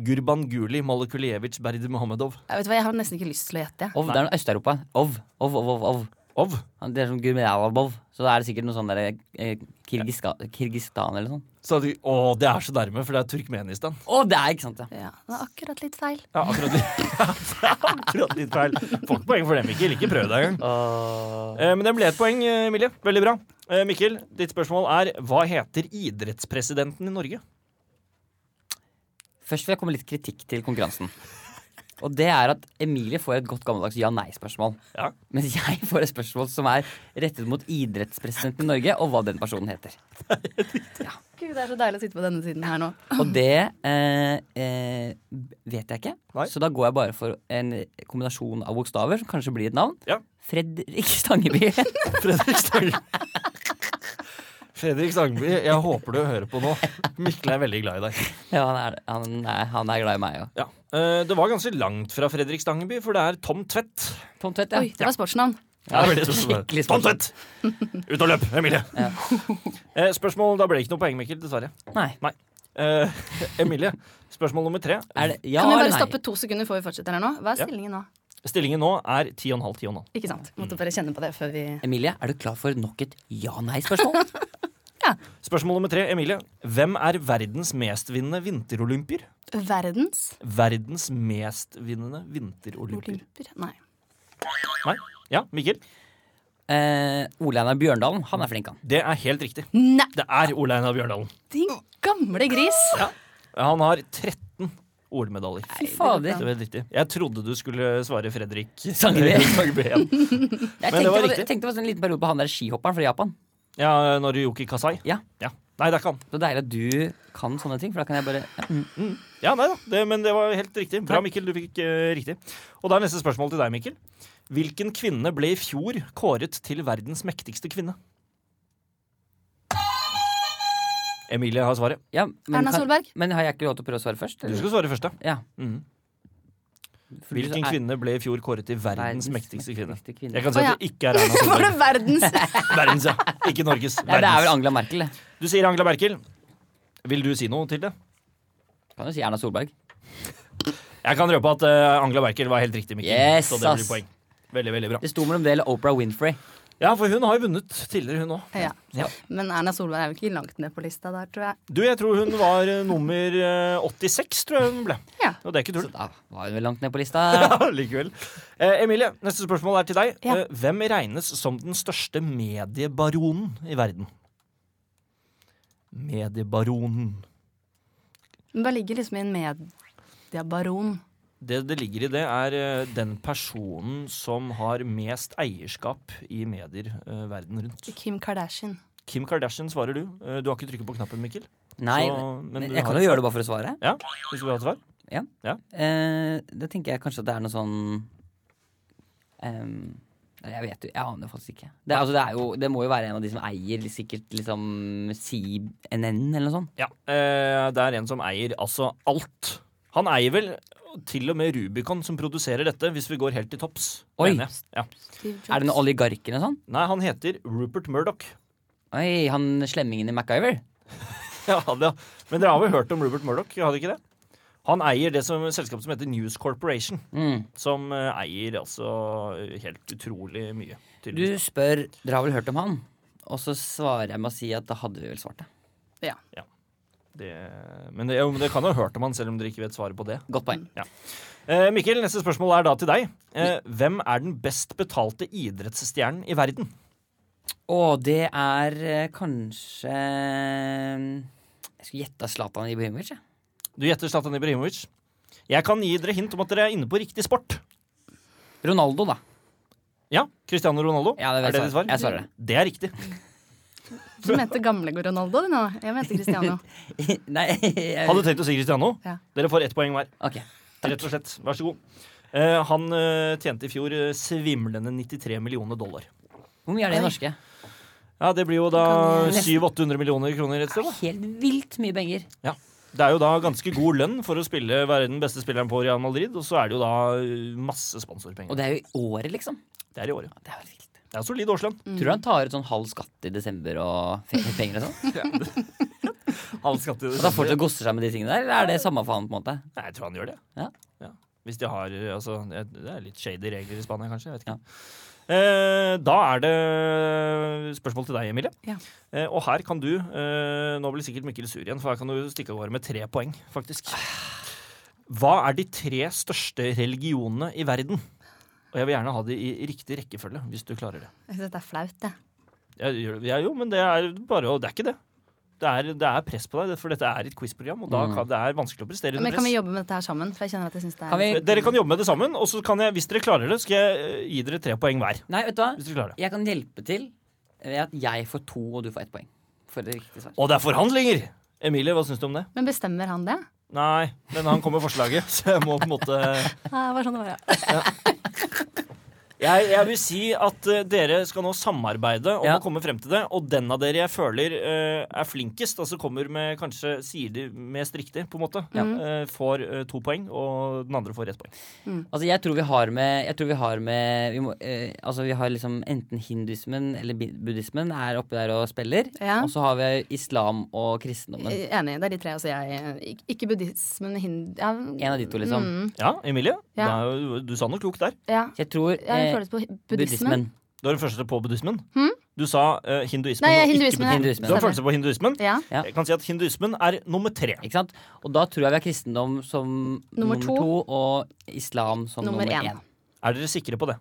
Gurbanguly Malikulievitsj Berd Muhammedov.
Jeg vet hva, jeg har nesten ikke lyst til å gjette. jeg.
Ov, det er noe Øst-Europa. Ov, ov, ov, ov. ov.
Ov.
Han- Det er som Gurmedavabov. Så da er det sikkert noe sånn derre eh, Kirgiska- Kirgistan eller noe sånt.
Sa du, å, det er så nærme, for det er Turkmenistan.
Å, det er ikke sant, ja.
Ja, det var akkurat litt feil.
Ja, akkurat litt, akkurat litt feil. Får ikke poeng for det, Mikkel. Ikke prøv deg engang.
Ah.
Eh, Men det ble et poeng, eh, Emilie. Veldig bra. Eh, Mikkel, ditt spørsmål er hva heter idrettspresidenten i Norge?
Først vil jeg komme med litt kritikk til konkurransen. Og det er at Emilie får et godt gammeldags ja-nei-spørsmål.
Ja.
Mens jeg får et spørsmål som er rettet mot idrettspresidenten i Norge, og hva den personen heter.
Gud, det er så deilig å sitte på denne siden her nå.
Og det eh, eh, vet jeg ikke.
Nei.
Så da går jeg bare for en kombinasjon av bokstaver, som kanskje blir et navn.
Ja.
Fredrik Stangeby.
Fredrik Stangby. Fredrik Stangby, jeg håper du hører på nå. Mikkel er veldig glad i deg.
ja, han er, han, er, han er glad i meg òg.
Ja. Eh, Det var ganske langt fra Fredrik Stangby, for det er Tom Tvedt.
Tom Tvedt, ja.
Oi, det var sportsnavn.
Ja, det er veldig
Skikkelig
spørsmål. Tom
spørsmål.
Tvedt! Ut og løp, Emilie. Eh, Spørsmål, Da ble det ikke noe poeng, Mikkel, dessverre.
Nei.
Nei. Eh, Emilie, spørsmål nummer tre.
Er det ja
Kan vi
eller
bare
nei?
stoppe to sekunder før vi fortsetter her nå? Hva er
Ja.
stillingen nå?
Stillingen nå er 10,5. 10,5.
Ikke sant? Måtte bare kjenne på det før vi
Emilie, er du klar for nok et ja-nei-spørsmål?
Spørsmål nummer tre, Emilie. Hvem er verdens mestvinnende vinterolympier?
Verdens
Verdens mestvinnende vinterolympier.
olympier? Nei.
Nei? Ja, Mikkel?
eh, Ole Einar Bjørndalen, han er flink, han.
Det er helt riktig.
Nei,
Det er Ole Einar Bjørndalen.
din gamle gris!
Han har 13 OL-medaljer.
Fy
det
Det
fader.
var helt riktig. Jeg trodde du skulle svare Fredrik
Sangre.
Sangre igjen.
Jeg
Men det
tenkte,
var
på,
riktig.
jeg tenkte på en liten periode på han der skihopperen fra Japan.
Ja, Noriyuki Kasai.
Ja.
Nei, det er ikke han.
Så deilig at du kan sånne ting, for da kan jeg bare ja. mm.
Ja, nei da, det, men det var helt riktig. Bra, Mikkel. Du fikk eh, riktig. Og da er neste spørsmål til deg, Mikkel. Hvilken kvinne ble i fjor kåret til verdens mektigste kvinne? Emilie har svaret.
ja men,
Erna
kan,
Solberg?
men har jeg ikke lov til å prøve å svare først?
Du
eller?
skal svare først, da.
Ja.
Mhm.
For du
Hvilken
er-
kvinne ble i fjor kåret til verdens, mektigste kvinne? Jeg kan si
Å, ja.
at det ikke er Erna
Var det
Solberg.
verdens?
Verdens, ja. Ikke Norges.
Ja, det er vel
Verdens.
Angela Merkel, det.
Du sier Angela Merkel. Vil du si noe til det?
Kan jo si Erna Solberg.
Jeg kan røpe at eh, Angela Merkel var helt riktig, Mikkel.
Yes,
så det blir
ass.
poeng. Veldig, veldig bra.
Det sto mellom det eller Oprah Winfrey.
Ja, for hun har jo vunnet tidligere, hun òg.
Ja.
Ja.
Men Erna Solberg er jo ikke langt ned på lista der, tror jeg.
Du, jeg tror hun var eh, nummer eh, 86, tror jeg hun ble.
Ja.
Og det er ikke
Så
tull.
da var hun vel langt ned på lista.
Likevel. Eh, Emilie, neste spørsmål er til deg.
Ja.
Eh, hvem regnes som den største mediebaronen i verden? Mediebaronen.
Men bare ligger liksom i en mediebaron.
Det det ligger i det, er eh, den personen som har mest eierskap i medier eh, verden rundt.
Kim Kardashian.
Kim Kardashian svarer du. Eh, du har ikke trykket på knappen, Mikkel.
Nei,
Så- men
men
du har
jeg kan jo
et
gjøre det bare for å svare.
Ja, hvis du vil ha et svar.
Eh, da tenker jeg kanskje at det er noe sånn ehm, nei, Jeg vet jo, jeg aner faktisk ikke. Det, er- altså, det, er jo, det må jo være en av de som eier sikkert liksom CNN eller noe sånt.
Ja, eh, det er en som eier altså alt. Han eier vel til og med Rubicon som produserer dette, hvis vi går helt til topps.
Oi.
mener jeg. Ja.
Steve Jobs.
Er det noen oligarker eller noe sånt?
Nei, han heter Rupert Murdoch.
Oi, han slemmingen i MacGyver?
ja, det, men dere har vel hørt om Rupert Murdoch, har dere ikke det? Han eier det som selskapet som heter News Corporation,
Mm.
som eh, eier altså helt utrolig mye.
Du
tydeligvis.
spør Dere har vel hørt om han? Og så svarer jeg med å si at da hadde vi vel svart det.
Ja.
Det, men det, jo, men dere kan jo ha hørt om han, selv om dere ikke vet svaret på det.
Godt poeng.
Eh, Mikkel, neste spørsmål er da til deg. Eh, hvem er den best betalte idrettsstjernen i verden?
Og det er eh, kanskje Jeg skulle gjette Zlatan Ibrahimovic. jeg.
Du gjetter Zlatan Ibrahimovic. Jeg kan gi dere hint om at dere er inne på riktig sport.
Ronaldo, da.
Ja, Cristiano Ronaldo.
Ja, det
er
vet
det ditt svar?
jeg. Jeg svarer det.
Det er riktig.
Du mente gamle Ronaldo du, nå. Jeg mente Cristiano.
Nei jeg...
Hadde tenkt å si Cristiano.
Ja.
Dere får ett poeng hver.
Ok.
Rett og slett. Vær så god. Eh, han eh, tjente i fjor eh, svimlende 93 millioner dollar.
Hvor mye er det i
Oi.
norske?
Ja, Det blir jo da
Kan
jeg-
700-800 millioner kroner et sted. da.
Helt vilt mye penger.
Ja. Det er jo da ganske god lønn for å spille, være den beste spilleren på Real Madrid, og så er det jo da eh, masse
Og
sponsorpenger.
det er jo i året, liksom.
Det er i året.
Det er jo vilt.
Det er solid årslønn.
Tror du han tar ut sånn halv skatt i desember og feriepenger og sånn?
All skatt i
Og da fortsatt gosser seg med de tingene der? Eller er det samme for han, på en måte?
Nei, jeg tror han gjør det.
Ja.
Hvis de har eh, altså, Det det er litt shady regler i Spania, kanskje. Jeg vet ikke. Eh, da er det spørsmål til deg, Emilie.
Ja.
Eh, og her kan du eh, Nå blir sikkert Mikkel sur igjen, for her kan du stikke av gårde med tre poeng, faktisk. Hva er de tre største religionene i verden? Og jeg vil gjerne ha de i riktig rekkefølge, hvis du klarer det.
Jeg synes dette er flaut, det.
Jeg, gjør- jeg, jo, men det er bare å Det er ikke det. Det er, det er press på deg, for dette er et quizprogram, og da
Mm.
kan, det er vanskelig å prestere
Men
under
kan vi
press.
jobbe med dette her sammen? For jeg kjenner at jeg synes det er
Kan vi-
Eh, Dere kan jobbe med det sammen, og så kan jeg, hvis dere klarer det, skal jeg eh, gi dere tre poeng hver.
Nei, vet du hva?
Hvis dere klarer det.
Jeg kan hjelpe til ved at jeg får to, og du får ett poeng. For det riktige svar.
Og det er forhandlinger! Emilie, hva syns du om det?
Men bestemmer han det?
Nei, men han kom med forslaget, så jeg må på en måte
Ja, det var sånn det var, ja.
Jeg, jeg vil si at eh, dere skal nå samarbeide om
Ja.
å komme frem til det, og den av dere jeg føler eh, er flinkest, altså kommer med kanskje sier de mest riktig, på en måte, eh, får eh, to poeng, og den andre får ett poeng.
Altså, jeg tror vi har med, jeg tror vi har, med vi må, eh, altså, vi har liksom enten hindusmen eller bi- buddhismen er oppe der og spiller.
Ja.
Og så har vi islam og kristendommen.
Enig. Det er de tre. Altså jeg Ik- Ikke buddhismen, hind... Ja, mm,
En av de to, liksom.
Mm. Ja, Emilie,
Ja.
da- du sa noe klokt der.
ja.
Så jeg tror
Jeg har en
eh,
følelse på hi- buddhismen.
buddhismen.
Du var den første på buddhismen. Du sa eh, hinduismen
Nei,
og
hinduismen,
ikke
ja.
buddhismen. Du har en følelse på hinduismen.
Ja.
Ja.
Jeg kan si at hinduismen er nummer tre.
Ikke sant? Og da tror jeg vi har kristendom som nummer,
Nummer
to.
to.
og islam som
Nummer
nummer,
én.
én.
Er dere sikre på det?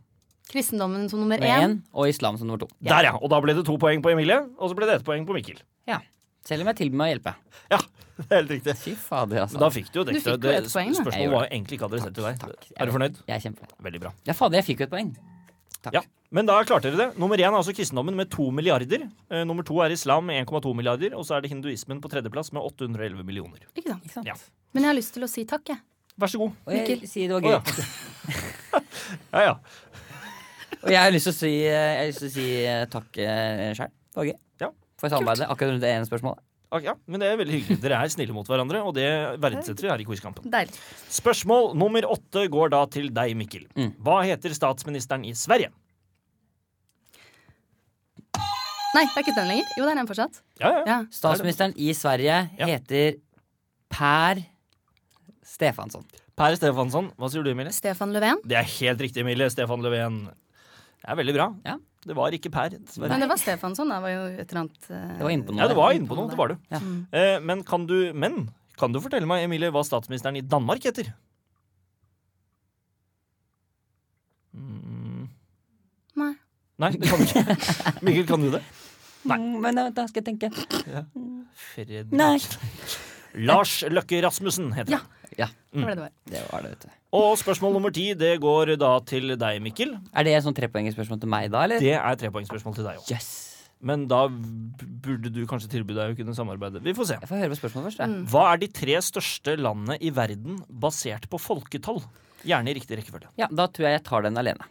Kristendommen som nummer
Nummer
én.
én og islam som nummer to.
Der, ja. Og da ble det to poeng på Emilie, og så ble det ett poeng på Mikkel.
Ja. Selv om jeg tilbyr meg å hjelpe.
Ja, det er helt riktig.
Fy fader, altså.
Men da fikk du jo dekket
Du fikk jo
det.
ett poeng, da.
Jeg
Spørsmålet
gjorde
var jo egentlig ikke adressert til deg.
Takk.
Er du fornøyd?
Jeg er kjempefornøyd.
Veldig bra.
Ja, fader, jeg fikk jo et poeng. Takk.
Ja, Men da klarte dere det. Nummer én er altså kristendommen med to milliarder. Eh, Nummer to er islam med 1,2 milliarder. Og så er det hinduismen på tredjeplass med 811 millioner.
Ikke sant?
Ikke sant?
Ja.
Men jeg har lyst til å si takk, jeg.
Vær så god.
Og jeg
Mikkel.
sier det
Å,
var gøy.
ja. Ja, ja.
Og jeg har lyst til å si, jeg har lyst til å si eh, takk sjøl. Det var gøy.
Ja.
For samarbeidet akkurat rundt det ene spørsmålet.
Ok, ja. Men det er veldig hyggelig. Dere er snille mot hverandre, og det verdsetter vi her i Quizkampen.
Deilig.
Spørsmål nummer åtte går da til deg, Mikkel.
Mm.
Hva heter statsministeren i Sverige?
Nei, det er ikke den lenger. Jo, det er den fortsatt.
Ja, ja.
Ja.
Statsministeren i Sverige
Ja.
heter Per Stefansson.
Per Stefansson. Hva sier du, Emilie?
Stefan Löfven.
Det er helt riktig, Emilie. Stefan Löfven. Det er veldig bra.
Ja.
Det var ikke Per. dessverre.
Men det var Stefansson. Det var jo et eller annet eh,
Det var inne på noe.
Ja, det var
jeg
inne på
kom
noe.
der.
Det var du.
Ja.
Eh, men, kan du, men kan du fortelle meg, Emilie, hva statsministeren i Danmark heter? Mm.
Nei.
Nei, det kan du ikke. Mikkel, kan du det? Nei.
Mm, Men da skal jeg tenke.
Fredrik
Nei.
Lars Løkke Rasmussen heter
Ja.
han. Mm.
Det var det det var.
Det var det, vet du.
Og spørsmål nummer ti, det går da til deg, Mikkel.
Er det et sånn trepoengerspørsmål til meg da, eller?
Det er trepoengsspørsmål til deg òg.
Yes.
Men da burde du kanskje tilby deg å kunne samarbeide. Vi får se.
Jeg får høre på spørsmålet først. Jeg.
Hva er de tre største landene i verden basert på folketall? Gjerne i riktig rekkefølge.
Ja, da tror jeg jeg tar den alene.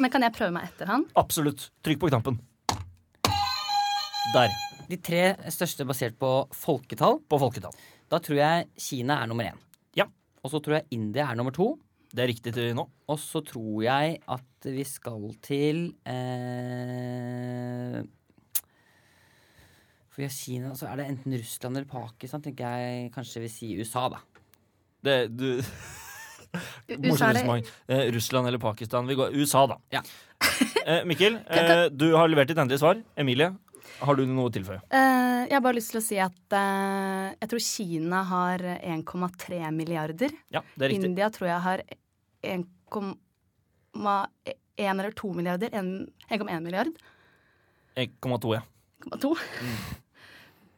Men kan jeg prøve meg etter han?
Absolutt. Trykk på knappen. Der.
De tre største basert på folketall.
På folketall.
Da tror jeg Kina er nummer én.
Ja.
Og så tror jeg India er nummer to.
Det er riktig til nå.
Og så tror jeg at vi skal til eh, For via Kina så er det enten Russland eller Pakistan, tenker jeg kanskje vil si USA, da.
Det, du, morsomt
USA er det-
resonnement. Eh, Russland eller Pakistan? Vi går USA, da.
Ja.
Eh, Mikkel, eh, du har levert ditt endelige svar. Emilie, har du noe å tilføye?
Eh, jeg har bare lyst til å si at eh, jeg tror Kina har 1,3 milliarder.
Ja, det er riktig.
India tror jeg har 1,1 eller 2 milliarder. en- 1,1 milliard.
1,2, ja.
1,2.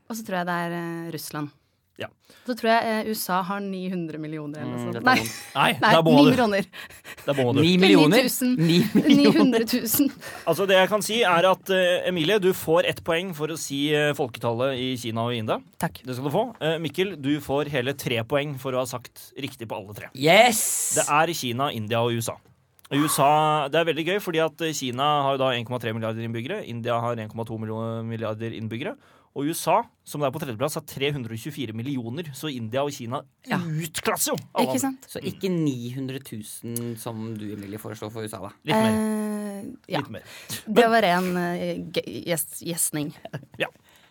Og så tror jeg det er eh, Russland.
Mm. Ja.
Så tror jeg eh, USA har 900 millioner eller noe
Mm,
sånt.
dette
Nei,
er vondt.
Nei,
nei
der bomma
9
du.
kroner.
Der bomma du.
Ni
Eller
millioner?
9000.
Ni millioner.
900 000.
Altså Det jeg kan si, er at eh, Emilie, du får ett poeng for å si eh, folketallet i Kina og India.
Takk.
Det skal du få. Eh, Mikkel, du får hele tre poeng for å ha sagt riktig på alle tre.
Yes!
Det er Kina, India og USA. USA, Det er veldig gøy, fordi at eh, Kina har jo da 1,3 milliarder innbyggere. India har 1,2 millioner- milliarder innbyggere. Og USA, som det er på tredjeplass, har 324 millioner. Så India og Kina
Ja.
utklasser jo! alle
Ikke
andre.
sant?
Så ikke 900 000 som du, Emilie, foreslår for USA, da.
Litt mer.
Eh, ja.
Litt mer.
Det var en eh, ge- gjes- gjesning.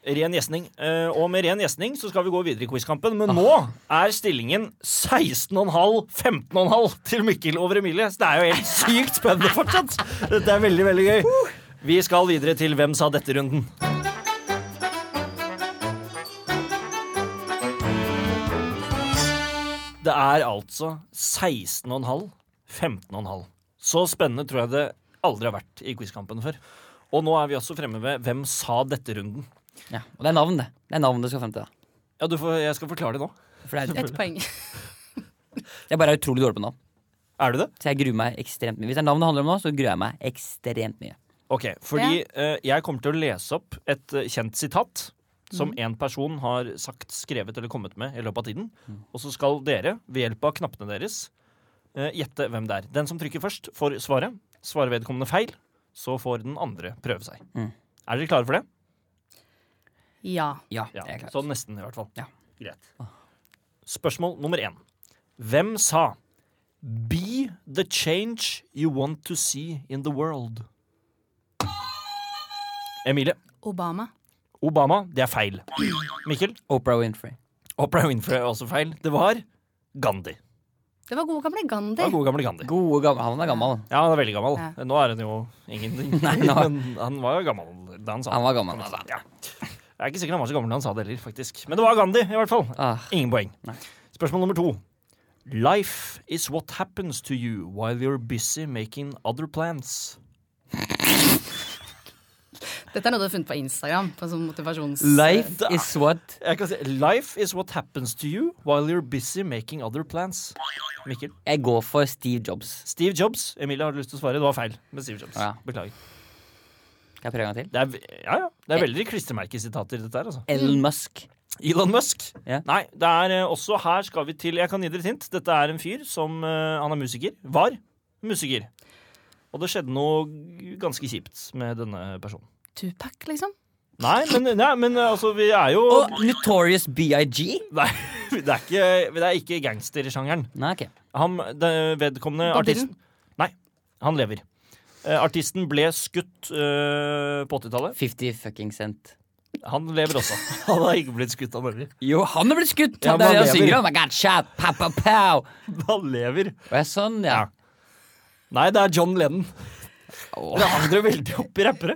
Ren gjesning. Eh, og med ren gjesning så skal vi gå videre i quizkampen. Men nå er stillingen 16,5-15,5 til Mikkel over Emilie. Så det er jo helt sykt spennende fortsatt. Dette er veldig, veldig gøy. Vi skal videre til Hvem sa dette-runden. Det er altså 16,5, 15,5. Så spennende tror jeg det aldri har vært i quizkampen før. Og nå er vi også fremme ved Hvem sa dette-runden.
Ja, Og det er navn, det. Det er navn du skal frem til, da.
Ja, du får, jeg skal forklare det nå.
For det er,
Ett poeng.
jeg bare er utrolig dårlig på navn.
Er du det?
Så jeg gruer meg ekstremt mye. Hvis det er navn det handler om nå, så gruer jeg meg ekstremt mye.
Ok, fordi eh, jeg kommer til å lese opp et eh, kjent sitat som
Mm.
en person har sagt, skrevet eller kommet med i løpet av tiden.
Mm.
Og så skal dere, ved hjelp av knappene deres, eh, gjette hvem det er. Den som trykker først, får svaret. Svarer vedkommende feil, så får den andre prøve seg.
Mm.
Er dere klare for det?
Ja.
Ja,
Ja,
det er klart.
sånn nesten i hvert fall.
Ja.
Greit. Spørsmål nummer én. Hvem sa 'Be the change you want to see in the world'? Emilie.
Obama.
Obama. Det er feil. Mikkel.
Oprah Winfrey.
Oprah Winfrey er også feil. Det var Gandhi.
Det var gode gamle Gandhi.
Det var gode gamle Gandhi.
Gode gamle Han er gammel.
Ja, han er veldig gammel.
Ja.
Nå er han jo ingenting.
Nei, nå-
Men han var jo gammel da han sa
Han
det.
var gammel.
Ja. Jeg er ikke sikker han var så gammel da han sa det heller, faktisk. Men det var Gandhi, i hvert fall.
Ah,
Ingen poeng.
Nei.
Spørsmål nummer to. Life is what happens to you while you're busy making other plans.
Dette er noe du har funnet på Instagram. På en sånn motivasjons...
life is what
Jeg kan si, Life is what happens to you while you're busy making other plans. Mikkel.
Jeg går for Steve Jobs.
Steve Jobs. Emilie, har du lyst til å svare? Det var feil med Steve Jobs.
Ja.
Beklager.
Kan jeg prøve en gang til?
Det er, v- ja, ja. Det er veldig klistremerkesitater, dette her, altså.
Elon Musk.
Elon Musk.
Ja.
Nei, det er eh, også her skal vi til Jeg kan gi dere et hint. Dette er en fyr som eh, Han er musiker. Var musiker. Og det skjedde noe g- ganske kjipt med denne personen.
Tupac, liksom.
Nei, men, nei, men altså, vi er jo
Og Notorious BIG.
Nei, det er ikke, det er ikke gangstersjangeren.
Nei, ok.
Han, det vedkommende
Bob Dylan?
artisten Nei, han lever. Eh, artisten ble skutt eh, på 80-tallet.
50 fucking cent.
Han lever også. Han har ikke blitt skutt, han lever.
Jo, han er blitt skutt!
Ja,
det
men
er det han
han lever.
synger om. I got shot, pow, pow, pow.
Han lever.
Og jeg, sånn, ja.
Ja. Nei, det er John Lennon.
Åh.
Det havner veldig opp i rappere.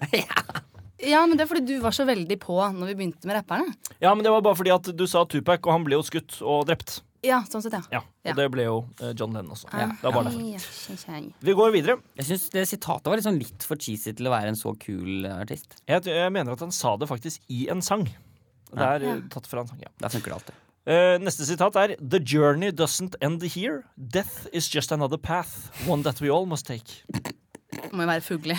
Ja, men det er fordi du var så veldig på når vi begynte med rapperne.
Ja, men det var bare fordi at du sa Tupac, og han ble jo skutt og drept.
Ja, sånn sett, ja.
Ja, Og
Ja.
det ble jo eh, John Lennon også.
Ja.
Det var bare derfor.
Ai, kjeng, kjeng.
Vi går videre.
Jeg syns det sitatet var litt sånn litt for cheesy til å være en så kul eh, artist.
Jeg, jeg mener at han sa det faktisk i en sang. Det er eh, tatt fra en sang, ja.
Da funker det alltid.
Eh, neste sitat er The journey doesn't end here. Death is just another path. One that we all must take.
Det Må jo være fuglig.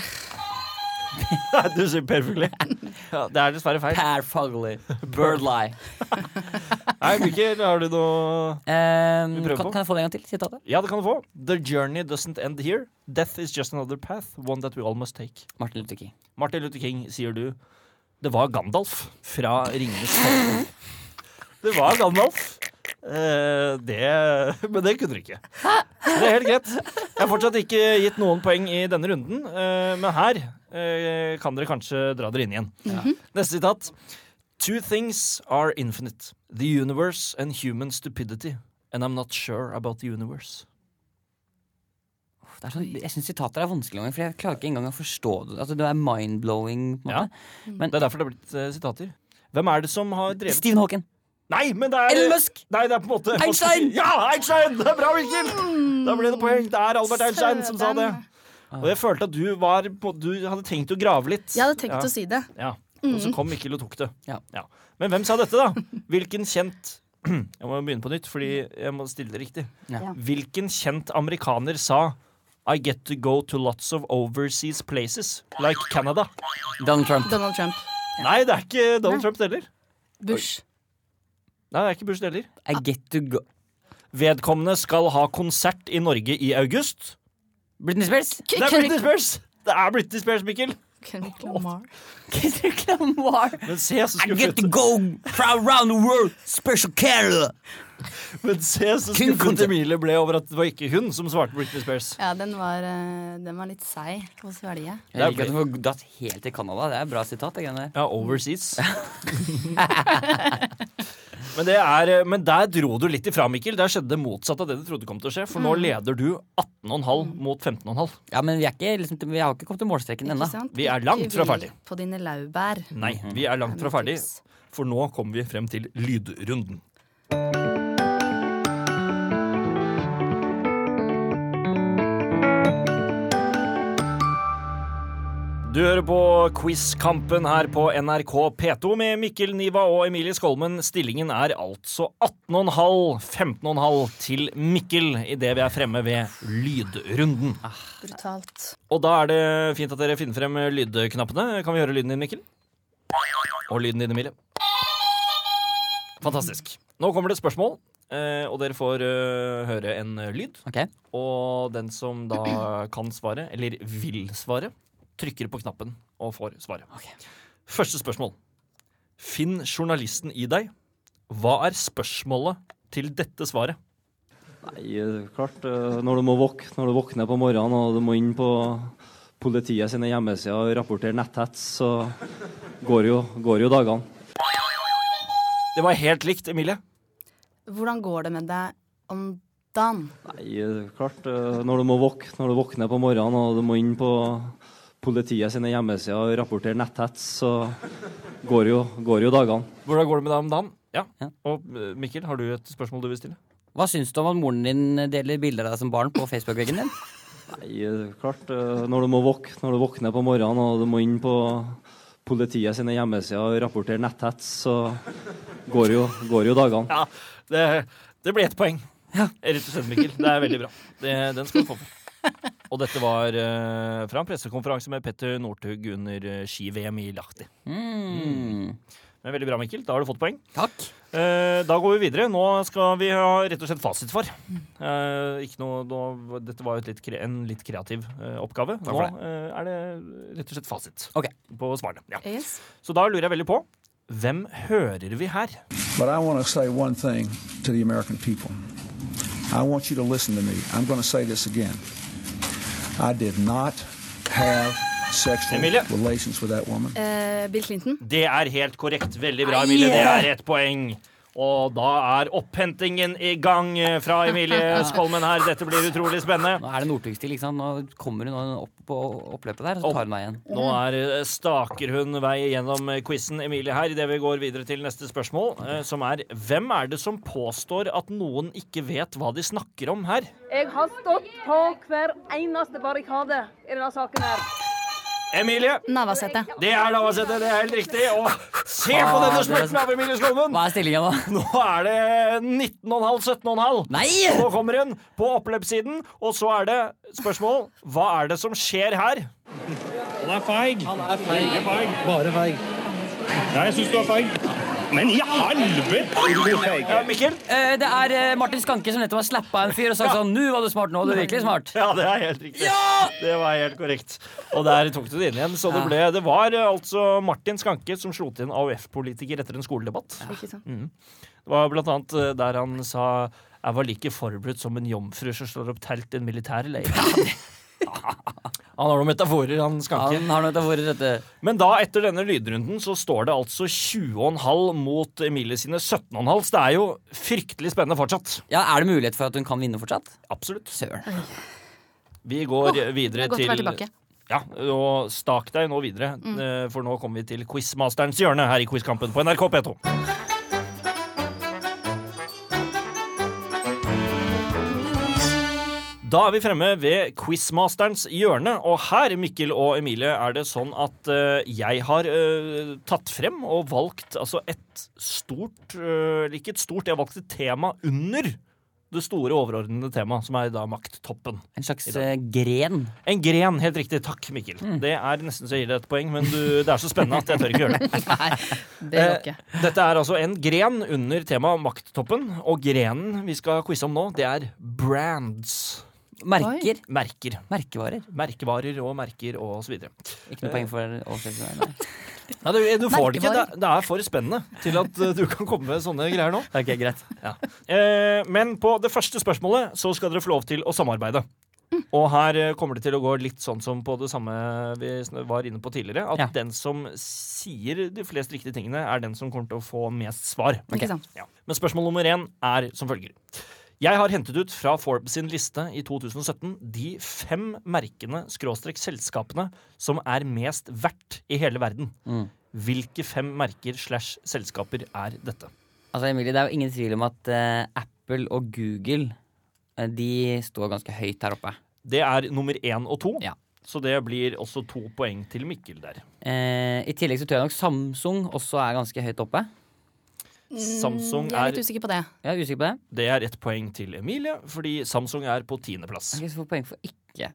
du sier Per Fugli. Ja, det er dessverre feil.
Per Fugley. Birdlie.
Nei, Mikkel, har du noe Vi prøver
Eh, kan,
på.
kan jeg få det en gang til? Sitatet?
Ja, det kan du få. The journey doesn't end here. Death is just another path. One that we all must take.
Martin Luther King.
Martin Luther King, sier du. Det var Gandalf fra Ringenes herre. Det var Gandalf. Eh, det Men det kunne du ikke. Det er helt greit. Jeg har fortsatt ikke gitt noen poeng i denne runden, eh, men her eh, kan dere kanskje dra dere inn igjen. Mhm. Neste sitat. Two things are infinite. The universe and human stupidity. And I'm not sure about the universe.
Det er sånn, jeg syns sitater er vanskelig, noen ganger, for jeg klarer ikke engang å forstå det. Altså, det er mind-blowing. på en
Ja.
måte. Men
Det er derfor det har blitt eh, sitater. Hvem er det som har drevet
Stephen Hawking!
Nei, men det er
Elon Musk!
Nei, det er på en måte
Einstein!
Ja, Einstein! Det er bra, Mikkel! Da ble det poeng. Det er Albert Einstein som sa det. Og jeg følte at du var på, Du hadde tenkt å grave litt.
Jeg hadde tenkt å si det.
Ja. Og så kom Mikkel og tok det.
Ja.
Men hvem sa dette, da? Hvilken kjent Jeg må begynne på nytt, fordi jeg må stille det riktig.
Ja.
Ja.
Hvilken kjent amerikaner sa I get to go to lots of overseas places, like Canada.
Donald Trump.
Donald Trump.
Nei, det er ikke Donald Trump heller.
Bush.
Nei, det er ikke Bush heller.
I get to go
Vedkommende skal ha konsert i Norge i august.
Britney Spears!
Det er Britney Spears! Det er Britney Spears, Mikkel.
Kendrick Lamar.
Kendrick Lamar.
Men se så
I get to
skuffet,
go around the world, special Canada!
men se så
Kun
skuffet
konsert.
Emilie ble over at det var ikke hun som svarte Britney Spears.
Ja, den var, eh, den var litt seig å svelge.
Det er
Jeg liker at du får dratt helt til Canada. Det er et bra sitat. det greiene der.
Ja, overseas. men, det er, men der dro du litt ifra, Mikkel. Der skjedde det motsatte av det du trodde kom til å skje. For
Mm.
nå leder du 18,5 mot 15,5.
Ja, men vi, er ikke, liksom, vi har ikke kommet til målstreken ennå.
Ikke sant?
Vi er langt
Ikke
fra
hvil
ferdig.
På dine laurbær.
Nei, vi er langt fra
Det er
ferdig.
mitt tips.
For nå kommer vi frem til lydrunden. Du hører på Quizkampen her på NRK P2 med Mikkel Niva og Emilie Skolmen. Stillingen er altså 18,5-15,5 til Mikkel idet vi er fremme ved lydrunden.
Brutalt.
Og da er det fint at dere finner frem lydknappene. Kan vi høre lyden din, Mikkel? Og lyden din, Emilie. Fantastisk. Nå kommer det et spørsmål, eh, og dere får eh, høre en lyd.
Ok.
Og den som da kan svare, eller vil svare, trykker på knappen og får svaret. Første spørsmål. Finn journalisten i deg. Hva er spørsmålet til dette svaret?
Nei, det er klart. eh, Når du må våk, når du våkner på morgenen og du må inn på politiet sine hjemmesider og rapportere netthets, så går jo, går jo dagene.
Det var helt likt, Emilie.
Hvordan går det med deg om dagen?
Nei, det er klart. eh, Når du må våk, når du våkner på morgenen og du må inn på politiet sine hjemmesider og rapportere netthets, så går jo, går jo dagene.
Hvordan går det med deg om dagen? Ja.
Ja.
Og eh, Mikkel, har du et spørsmål du vil stille?
Hva syns du om at moren din deler bilder av deg som barn på Facebook-veggen din?
Nei, det er klart. eh, Når du må våk, når du våkner på morgenen og du må inn på politiet sine hjemmesider og rapportere netthets, så går jo, går jo dagene.
Ja, det, det ble ett poeng. Rett og slett, Mikkel. Det er veldig bra. Det, den skal du få. for. Og dette var eh, fra en pressekonferanse med Petter Northug under eh, ski-VM i Lahti.
Mm.
Men veldig bra, Mikkel. Da har du fått poeng.
Takk.
Eh, da går vi videre. Nå skal vi ha rett og slett fasit for. Eh, ikke noe, nå, dette var jo et litt, kre- en litt kreativ eh, oppgave.
Takk
Nå
for det.
eh, er det rett og slett fasit
Ok.
på svarene. Ja.
Yes.
Så da lurer jeg veldig på hvem hører vi her?
But I want to say one thing to the American people. I want you to listen to me. I'm going to say this again. I did not have sexual
Emilia.
relations with that woman.
Eh, Bill Clinton.
Det er helt korrekt. Veldig bra, Emilie. Det er ett poeng. Og da er opphentingen i gang eh, fra Emilie Skolmen her. Dette blir utrolig spennende.
Nå er det Northug-stil. ikke sant? Nå kommer hun opp på oppløpet der, og så tar hun meg igjen.
Nå er, eh, staker hun vei gjennom eh, quizen Emilie her idet vi går videre til neste spørsmål, eh, som er Hvem er det som påstår at noen ikke vet hva de snakker om her?
Jeg har stått på hver eneste barrikade i denne saken her.
Emilie!
Navasete.
Det er Navarsete, det er helt riktig. Og se på denne smerten av Emilie Skolmen!
Hva er stillinga nå?
Nå er det 19,5-17,5.
Nei!
Nå kommer hun på oppløpssiden, og så er det spørsmål Hva er det som skjer her?
Han er feig. Han er feig. Bare feig. Ja, jeg syns du er feig. Men i helvete! Du er feig.
Ja, Mikkel?
Eh, Det er eh, Martin Skanke som nettopp har slappa en fyr og sagt sånn 'Nå var du smart, nå var du virkelig smart'.
Ja, det er helt riktig. Det var helt korrekt. Og der tok du det inn igjen. Så det, ble, det var eh, altså Martin Skanke som slo til en AUF-politiker etter en skoledebatt.
Ikke sant?
Mm. Det var blant annet eh, der han sa jeg var like forberedt som en jomfru som slår opp telt i en militærleir. Han har noen metaforer, han skal ikke.
Han har noe av våre dette.
Men da, etter denne lydrunden, så står det altså 20,5 mot Emilie sine 17,5. Så det er jo fryktelig spennende fortsatt.
Ja, Er det mulighet for at hun kan vinne fortsatt?
Absolutt.
Søren.
Vi går videre
Godt å være
til eh,
tilbake.
Ja, og stak deg nå videre, eh, for nå kommer vi til Quizmasterens hjørne her i Quizkampen på NRK P2. Da er vi fremme ved Quizmasterens hjørne, og her, Mikkel og Emilie, er det sånn at eh, jeg har eh, tatt frem og valgt altså et stort eh, Eller ikke et stort, jeg har valgt et tema under det store overordnede temaet, som er da makttoppen.
En slags
I dag.
eh, gren.
En gren, helt riktig. Takk, Mikkel.
Mm.
Det er nesten så jeg gir deg et poeng, men du, det er så spennende at jeg tør ikke gjøre det.
Det går ikke.
Dette er altså en gren under temaet makttoppen, og grenen vi skal quize om nå, det er brands.
Merker.
Merker.
Merkevarer.
Merkevarer og merker og så videre.
Ikke noe poeng for oversettelsen. der, nei.
Nei, du, du får det ikke. Det, det er for spennende til at eh, du kan komme med sånne greier nå.
Ok, greit.
Eh, men på det første spørsmålet så skal dere få lov til å samarbeide. Og her eh, kommer det til å gå litt sånn som på det samme vi sn- var inne på tidligere. At
Ja.
den som sier de flest riktige tingene, er den som kommer til å få mest svar.
Ikke sant?
Ja. Men spørsmål nummer én er som følger. Jeg har hentet ut fra Forbes sin liste i 2017 de fem merkene, skråstrek selskapene, som er mest verdt i hele verden. Hvilke fem merker slash selskaper er dette?
Altså, Emilie, det er jo ingen tvil om at eh, Apple og Google eh, de står ganske høyt her oppe.
Det er nummer én og to.
Ja.
Så det blir også to poeng til Mikkel der.
Eh, I tillegg så tror jeg nok Samsung også er ganske høyt oppe.
Samsung
Mm, Jeg er
er,
litt usikker på det.
Jeg er usikker på det.
det er ett poeng til Emilie, fordi Samsung er på tiendeplass.
Ok, så får poeng for ikke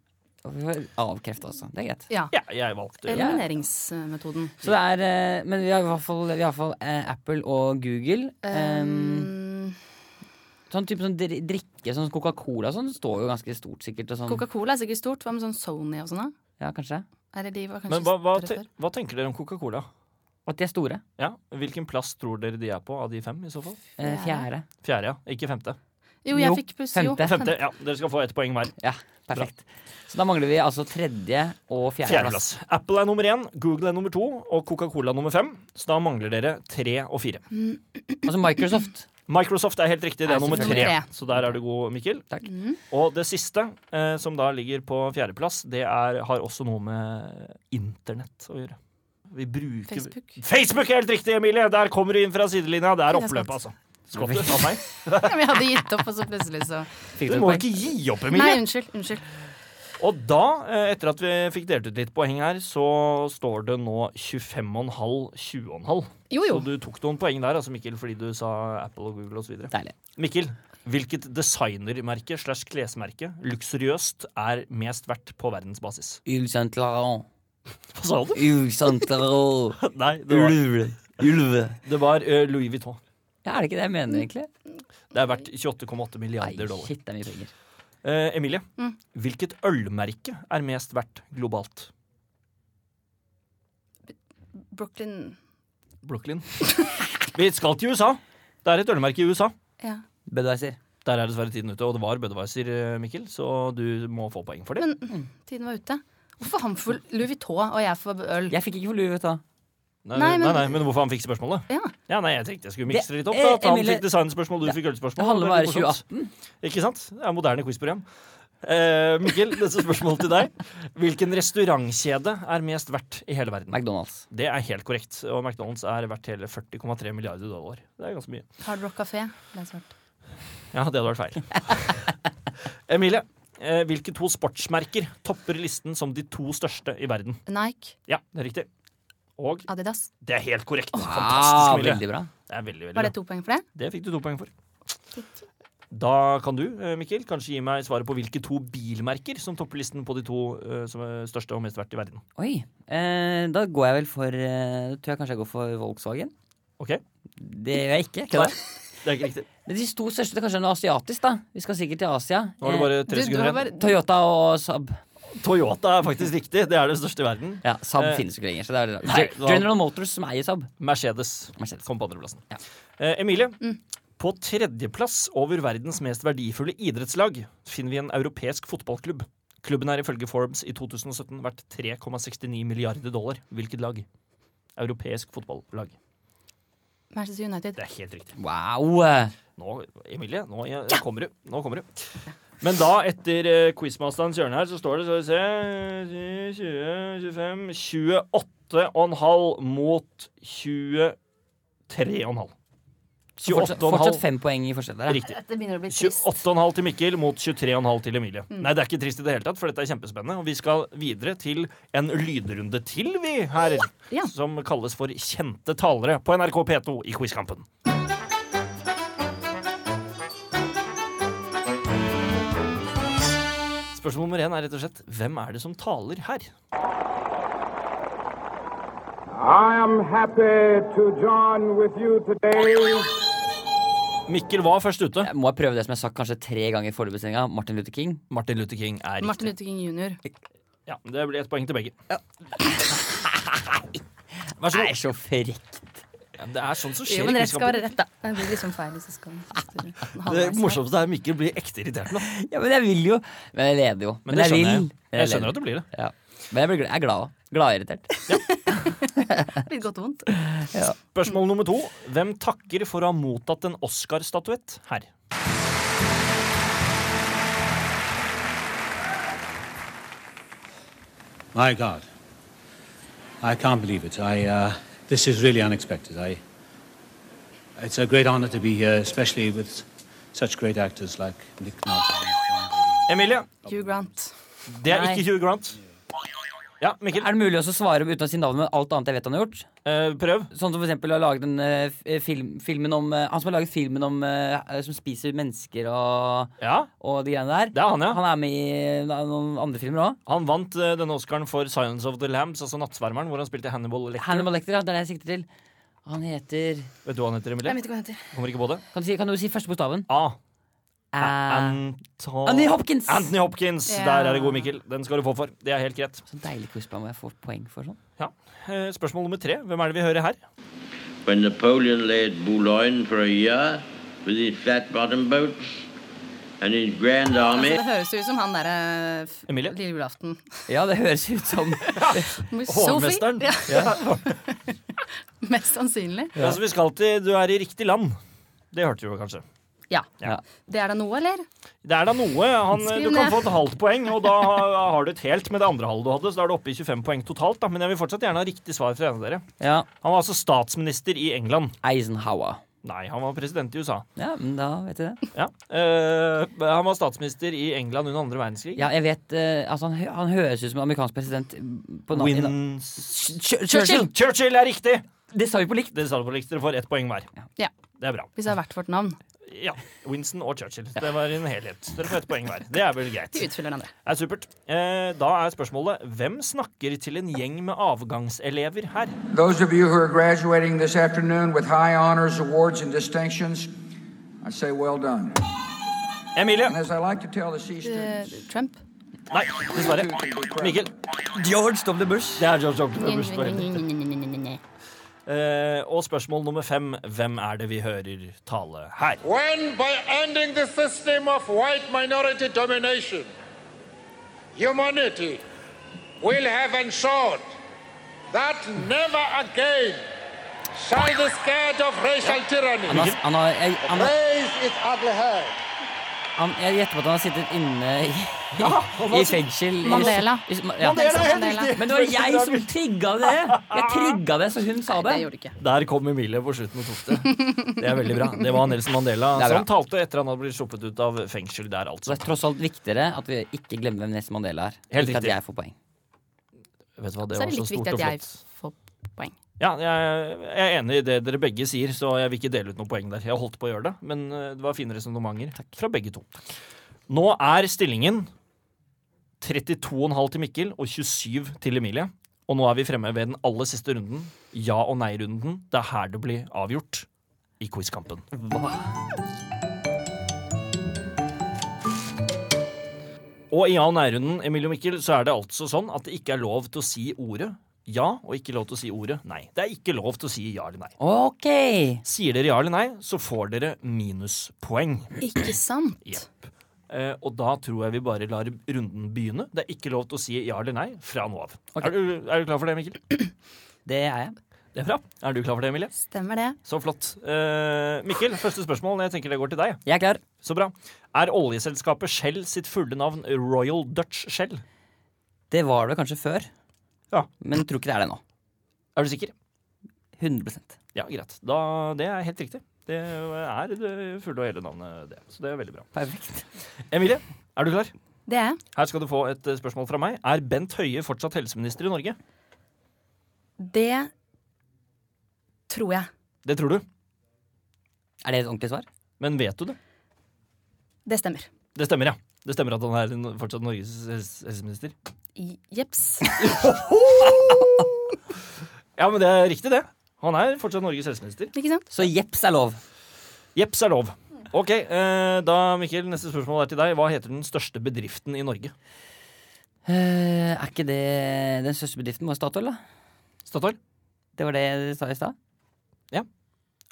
og vi får Avkrefte, altså. Det er greit.
Ja.
Ja, jeg valgte
Elimineringsmetoden.
Så det er, eh, Men vi har i hvert fall, vi har i hvert fall eh, Apple og Google. Um,
Mm,
sånn type sånn dri- drikke, sånn Coca-Cola og sånn, står jo ganske stort, sikkert. Og sånn.
Coca-Cola er sikkert stort. Hva med sånn Sony og sånn? da?
Ja, kanskje.
Eller de var kanskje
Men hva, hva,
større
te,
før?
hva tenker dere om Coca-Cola?
Og at de er store.
Ja, Hvilken plass tror dere de er på av de fem? i så fall?
Eh, fjerde.
Fjerde, ja. Ikke femte.
Jo, jeg
Jo,
fikk pluss jo.
femte.
Femte, ja. Dere skal få ett poeng hver.
Ja, perfekt. Så da mangler vi altså tredje og fjerdeplass.
Fjerdeplass. Apple er nummer én, Google er nummer to og Coca-Cola nummer fem. Så da mangler dere tre og fire.
Altså Microsoft.
Microsoft er helt riktig, det
Nei,
er nummer tre.
selvfølgelig.
Så der er du god, Mikkel.
Takk.
Og det siste, eh, som da ligger på fjerdeplass, det er, har også noe med internett å gjøre. Vi bruker
Facebook.
Facebook er helt riktig, Emilie! Der kommer du inn fra sidelinja. Det er
Det er
oppløpet, altså. Skottet av meg.
Men jeg hadde gitt opp, og så plutselig så
Du
Fikk du et
må
poeng?
ikke gi opp,
Nei,
Emilie!
unnskyld. unnskyld
Og da, eh, etter at vi fikk delt ut litt poeng her, så står det nå 25,5-20,5.
Jo,
Så
jo.
du tok noen poeng der, altså, Mikkel, fordi du sa Apple og Google osv.
Deilig.
Mikkel, hvilket designermerke slash klesmerke luksuriøst er mest verdt på verdensbasis?
Yves Saint Laurent.
Hva sa du?
Yves Saint Laurent.
Nei, det var,
Ulve. Ulve.
det var eh, Louis Vuitton.
Ja, er det ikke det jeg mener, egentlig?
Det er verdt 28,8
Nei,
milliarder dollar.
shit, det er mye penger.
Eh, Emilie,
Mm.
hvilket ølmerke er mest verdt globalt?
Brooklyn
Brooklyn. Vi skal til USA. Det er et ølmerke i USA.
ja.
Budwiser.
Der er dessverre tiden ute, og det var Budwiser, eh, Mikkel, så du må få poeng for det.
Men tiden var ute. Hvorfor han får Louis Vuitton og jeg får øl?
Jeg fikk ikke for Louis Vuitton.
Nei,
Nei,
nei,
men-
nei, men hvorfor han fikk spørsmålet?
Ja.
Ja, nei, Jeg tenkte jeg skulle mikse det litt opp.
Det- eh,
da, At han
Emilie-
fikk designspørsmål, du fikk ølspørsmål.
Det handler om å være
Veldig morsomt.
2018.
Ikke sant? Det er et moderne quizprogram. Eh, Mikkel, dette spørsmålet til deg. Hvilken restaurantkjede er mest verdt i hele verden?
McDonald's.
Det er helt korrekt. Og McDonald's er verdt hele 40,3 milliarder dollar. Det er ganske mye.
Hard Rock Café. ble svart.
Ja, det hadde vært feil. Emilie, eh, hvilke to sportsmerker topper listen som de to største i verden?
Nike.
Ja, det er riktig. Og
Adidas.
det er helt korrekt.
Ah,
Fantastisk, Emilie.
veldig bra.
Det er veldig, veldig bra.
Var det to poeng for det?
Det fikk du to poeng for. Da kan du, eh, Mikkel, kanskje gi meg svaret på hvilke to bilmerker som topper listen på de to eh, som er største og mest verdt i verden.
Oi. Eh, da går jeg vel for eh, Da tror jeg kanskje jeg går for Volkswagen.
Ok?
Det gjør jeg ikke. Kødder.
Det er ikke riktig.
Men De to største det er kanskje noe asiatisk, da. Vi skal sikkert til Asia.
Nå har du bare tre
Du- du
sekunder
har
igjen.
bare-
Eh, Toyota og Saab.
Toyota er faktisk riktig. Det er det største i verden.
Ja, Saab
Eh,
finnes jo ikke lenger. Så det er veldig
nei,
rart. Ge- General Motors som eier Saab.
Mercedes,
Mercedes.
kom på andreplassen.
Ja.
Eh, Emilie, på tredjeplass over verdens mest verdifulle idrettslag finner vi en europeisk fotballklubb Klubben er ifølge Forbes i 2017 verdt 3,69 milliarder dollar. Hvilket lag? Europeisk fotballag.
Manchester United.
Det er helt riktig.
Wow!
Nå, Emilie, nå eh, kommer du. Nå kommer du. Men da, etter eh, quizmasterens hjørne her, så står det, skal vi se 20, 25 28,5 mot 23,5.
Så Fortsatt,
28,5.
fortsatt fem poeng i forskjell der.
Riktig.
Dette begynner å bli trist. Mm.
28,5 til Mikkel mot 23,5 til Emilie. Nei, det er ikke trist i det hele tatt, for dette er kjempespennende. Og vi skal videre til en lydrunde til, vi her.
Ja.
Som kalles for Kjente talere på NRK P2 i Quizkampen. Spørsmål nummer én er rett og slett hvem er det som taler her?
I am happy to join with you today.
Mikkel var først ute.
Jeg må jeg prøve det som jeg har sagt kanskje tre ganger i forrige bestillinga? Martin Luther King.
Martin Luther King er riktig.
Martin Luther King jr.
Ja, Det blir ett poeng til begge. Vær så god.
Det er så frekt.
Ja, Det er sånn som skjer.
Jo,
i
men rett skal
Quizkampen.
være rett, da. Det blir liksom feil hvis jeg skal
Det morsomste er Mikkel blir ekte irritert nå.
Ja, men jeg vil jo. Men jeg leder jo.
Men det
jeg
skjønner jeg.
vil.
Jeg skjønner at du blir det.
Ja. Men jeg, blir glad. jeg er glad òg. Gladirritert.
Litt godt og vondt.
Spørsmål nummer to. Hvem takker for å ha mottatt en Oscar-statuett her?
My God. I can't believe it. I, uh, this is really unexpected. I, it's a great honor to be here, especially with such great actors like Nick Nolte.
Emilie,
Hugh Grant.
det er
Nei.
ikke Hugh Grant. Ja, Mikkel.
Er det mulig også å svare uten å si navnet, men alt annet jeg vet han har gjort?
Eh, prøv.
Sånn som for eksempel å lage den eh, f- film, filmen om eh, Han som har laget filmen om eh, som spiser mennesker og,
Ja,
og de greiene der.
det er han, ja.
Han er med i eh, noen andre filmer òg.
Han vant eh, denne Oscaren for 'Silence of the Lambs', altså 'Nattsvermeren', hvor han spilte Hannibal Lecter.
Hannibal Lecter, ja. Det er det jeg sikter til. Han heter
Vet du hva han heter,
Jeg
Emilie?
vet ikke hva han heter.
Kommer ikke på det.
Kan du si, kan du si første bokstaven?
A.
Eh,
Anton...
Anthony Hopkins!
Anthony Hopkins.
Ja.
Der er det god, Mikkel. Den skal du få for. Det er helt greit.
Så deilig quizbra må jeg få poeng for sånn.
Ja. Eh, Spørsmål nummer tre. Hvem er det vi hører her?
When Napoleon lay at Boulogne for a year with his flat bottomed boats and his grand
Altså,
army.
det høres jo ut som han derre f-
Emilie?
Lille julaften.
Ja, det høres ut som
Sophie?
Hovmesteren.
Ja,
Ja.
mest sannsynlig.
Altså, vi skal til 'Du er i riktig land'. Det hørte du jo kanskje.
Ja.
Ja.
Det er da noe, eller?
Det er da noe. Han,
Skriv
du kan
ned.
få et halvt poeng, og da ha- har du et helt med det andre halvet du hadde. Så da er du oppe i 25 poeng totalt, da. Men jeg vil fortsatt gjerne ha riktig svar fra en av dere.
Ja,
Han var altså statsminister i England.
Eisenhower.
Nei, han var president i USA.
Ja, men da vet jeg det.
Ja. Eh, han var statsminister i England under andre verdenskrig.
Ja, jeg vet eh, Altså, han, hø- han høres ut som en amerikansk president på navnet
Win...
Churchill!
Churchill er riktig!
Det sa vi på likt.
Det sa du på likt. Dere får ett poeng hver.
Ja.
Det er bra.
Hvis det har vært vårt navn.
Ja. Winston og Churchill. Det var en helhet. Dere får ett poeng hver. Det er vel greit.
Vi utfyller hverandre.
Det er supert. Eh, da er spørsmålet hvem snakker til en gjeng med avgangselever her?
Those of you who are graduating this afternoon with high honors, awards, and distinctions, I say well done.
Emilie.
And as I like to tell the C students,
Eh, Trump.
Nei, dessverre. Mikkel.
George W. Bush.
Det er George Johnson. Det er bursdag på henne.
Hillary
Eh, og spørsmål nummer fem. Hvem er det vi hører tale her?
When by ending the system of white minority domination, humanity will have ensured that never again shall the scourge of racial
Han
tyranny
har, han har, jeg, han har,
raise its ugly head.
han, jeg gjetter på at han har sittet inne i, i fengsel. i-
Mandela.
i- ja. Men det var jeg som trigga det! Jeg trigga det, så hun sa det.
Det gjorde du ikke.
Der kom Emilie på slutten og tok det. Det er veldig bra. Det var Nelson Mandela
Det er bra.
som talte etter han hadde blitt sluppet ut av fengsel der,
Så
altså.
det er tross alt viktigere at vi ikke glemmer hvem Nelson Mandela er.
Helt
ikke at
riktig.
jeg får poeng.
Vet du hva, det
Så er
var
det
så
litt
stort og
viktig at jeg
flott.
får poeng.
Ja, jeg, jeg er enig i det dere begge sier, så jeg vil ikke dele ut noen poeng der. Jeg holdt på å gjøre det, men eh, det var fine resonnementer fra begge to. Nå er stillingen 32,5 til Mikkel og 27 til Emilie. Og nå er vi fremme ved den aller siste runden. Ja- og nei-runden. Det er her det blir avgjort i quizkampen. Og i ja- og nei-runden, Emilie og Mikkel, så er det altså sånn at det ikke er lov til å si ordet ja, og ikke lov til å si ordet nei. Det er ikke lov til å si ja eller nei.
OK!
Sier dere ja eller nei, så får dere minuspoeng.
Ikke sant?
Jepp. Eh, og da tror jeg vi bare lar runden begynne. Det er ikke lov til å si ja eller nei fra nå av.
Ok.
Er, du, er du klar for det, Mikkel?
Det er jeg.
Det er bra. Er du klar for det, Emilie?
Stemmer det.
Så flott. Eh, Mikkel, første spørsmål. Jeg tenker det går til deg.
Jeg er klar.
Så bra. Er oljeselskapet Shell sitt fulle navn Royal Dutch Shell?
Det var det kanskje før,
Ja.
men jeg tror ikke det er det nå.
Er du sikker?
100
Ja, greit. Da, det er helt riktig. Det er det fulle og hele navnet, det. Så det er veldig bra.
Perfekt.
Emilie, er du klar?
Det er jeg.
Her skal du få et eh, spørsmål fra meg. Er Bent Høie fortsatt helseminister i Norge?
Det tror jeg.
Det tror du,
Er det et ordentlig svar?
men vet du det?
Det stemmer.
Det stemmer, ja. Det stemmer at han er en- fortsatt Norges hels- helseminister.
I- Jeps.
Ja, men det er riktig, det. Han er fortsatt Norges helseminister.
Ikke sant?
Så jeps er lov.
Jepps er lov. Ok, eh, da Mikkel, neste spørsmål er til deg. Hva heter den største bedriften i Norge?
Eh, er ikke det den største bedriften vår, Statoil? da?
Statoil?
Det var det du sa i stad?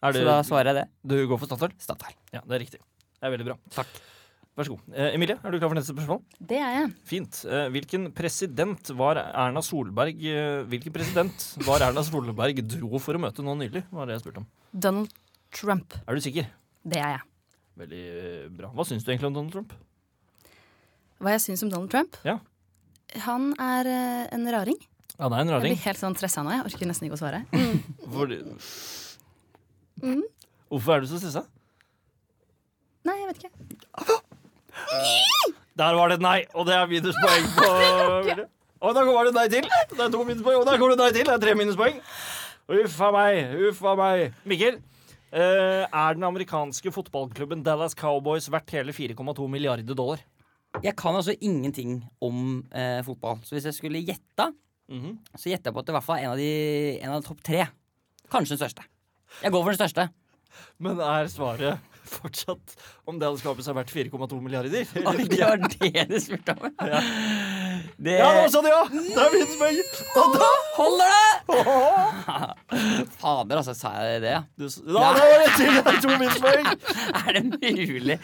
Er
Så
det,
da svarer jeg det.
du går for Statoil?
Statoil.
Ja, det er riktig. Det er veldig bra. Takk. Vær så god. Eh, Emilie, er du klar for neste spørsmål?
Det er jeg.
Fint. Eh, hvilken president var Erna Solberg eh, Hvilken president var Erna Solberg dro for å møte nå nylig? Var det jeg spurte om.
Donald Trump.
Er du sikker?
Det er jeg.
Veldig eh, bra. Hva syns du egentlig om Donald Trump?
Hva jeg syns om Donald Trump?
Ja.
Han er eh, en raring.
Han er en
Jeg
raring.
blir helt sånn stressa nå. Jeg orker nesten ikke å svare.
Hvor... Hvorfor er du så stressa?
Nei, jeg vet ikke.
Der var det et nei, og det er minuspoeng på Og da kommer det et nei til. Det er to minuspoeng, og der kommer det et nei til. Det er tre minuspoeng. Uff a meg. Uff a meg. Mikkel, eh, er den amerikanske fotballklubben Dallas Cowboys verdt hele 4,2 milliarder dollar?
Jeg kan altså ingenting om eh, fotball, så hvis jeg skulle gjetta,
Mhm.
så gjetter jeg på at det i hvert fall er en av de, en av de topp tre. Kanskje den største. Jeg går for den største.
Men er svaret fortsatt om det hadde skapet seg verdt 4,2 milliarder?
Ah,
Eller
Det
ikke?
var det du spurte om. Det
Ja, nå sa du ja! Det er mitt poeng! Og da
Holder det! Fader, altså. Sa jeg det, ja?
du, s- Da da var det til! Det er to minuspoeng!
Er det mulig?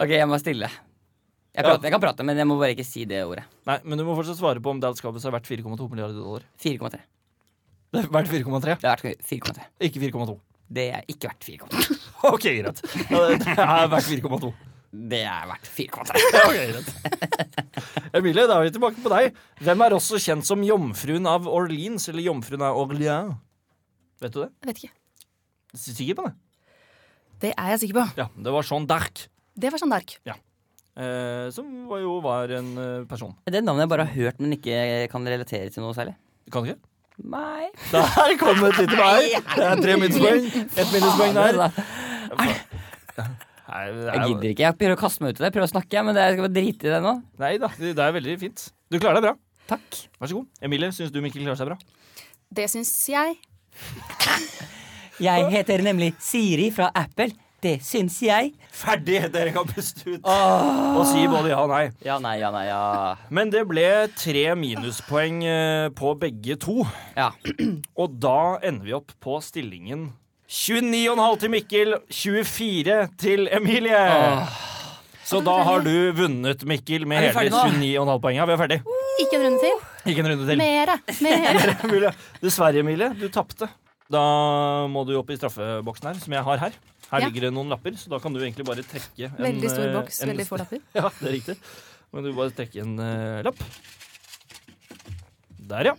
OK, jeg må stille. Jeg, prater, jeg kan prate, men jeg må bare ikke si det ordet.
Nei, men du må fortsatt svare på om det hadde skapet seg verdt 4,2 milliarder dollar.
4,3.
Det er verdt 4,3,
Det er verdt 4,3.
ikke 4,2.
Det er ikke verdt 4,3.
OK, greit. Ja, det- det er verdt 4,2.
Det er verdt 4,3.
Ja, ok, greit. Emilie, da er vi tilbake på deg. Hvem er også kjent som Jomfruen av Orleans? Eller Jomfruen av Orleans? Vet du det?
Jeg vet ikke.
Sikker på det?
Det er jeg sikker på.
Ja, det var Jeanne d'Arc.
Det var sånn dark.
Eh, som var jo var en eh, person.
Det er navnet jeg bare har hørt, men ikke kan relatere til noe særlig.
Kan du ikke?
Nei.
Der kom et lite nei. Det er tre minuspoeng. Ett minuspoeng der. Nei, det
Jeg
er,
gidder ikke. Jeg prøver å kaste meg ut i det. Jeg Prøver å snakke, men det, jeg skal bare drite i det nå.
nei da, det er veldig fint. Du klarer deg bra.
Takk.
Vær så god. Emilie, syns du Mikkel klarer seg bra?
Det syns jeg.
Jeg heter nemlig Siri fra Apple. Det syns jeg.
Ferdig! Dere kan puste ut Ah. og si både ja og nei.
Ja, nei, ja, nei, ja.
Men det ble tre minuspoeng eh, på begge to.
Ja.
Og da ender vi opp på stillingen 29,5 til Mikkel, 24 til Emilie. Så da har du vunnet, Mikkel, med
Ah.
hele
Er vi ferdig nå?
29,5 poenga. Vi er ferdig.
Ikke en runde til.
Ikke en runde til.
Mere. Mere.
Emilie. Dessverre, Emilie. Du tapte. Da må du opp i straffeboksen her, som jeg har her. Her
Ja.
ligger det noen lapper, så da kan du egentlig bare trekke en
Veldig stor
eh,
boks,
en-
veldig få lapper.
Ja, det er riktig. Da kan du bare trekke en eh, lapp. Der, ja.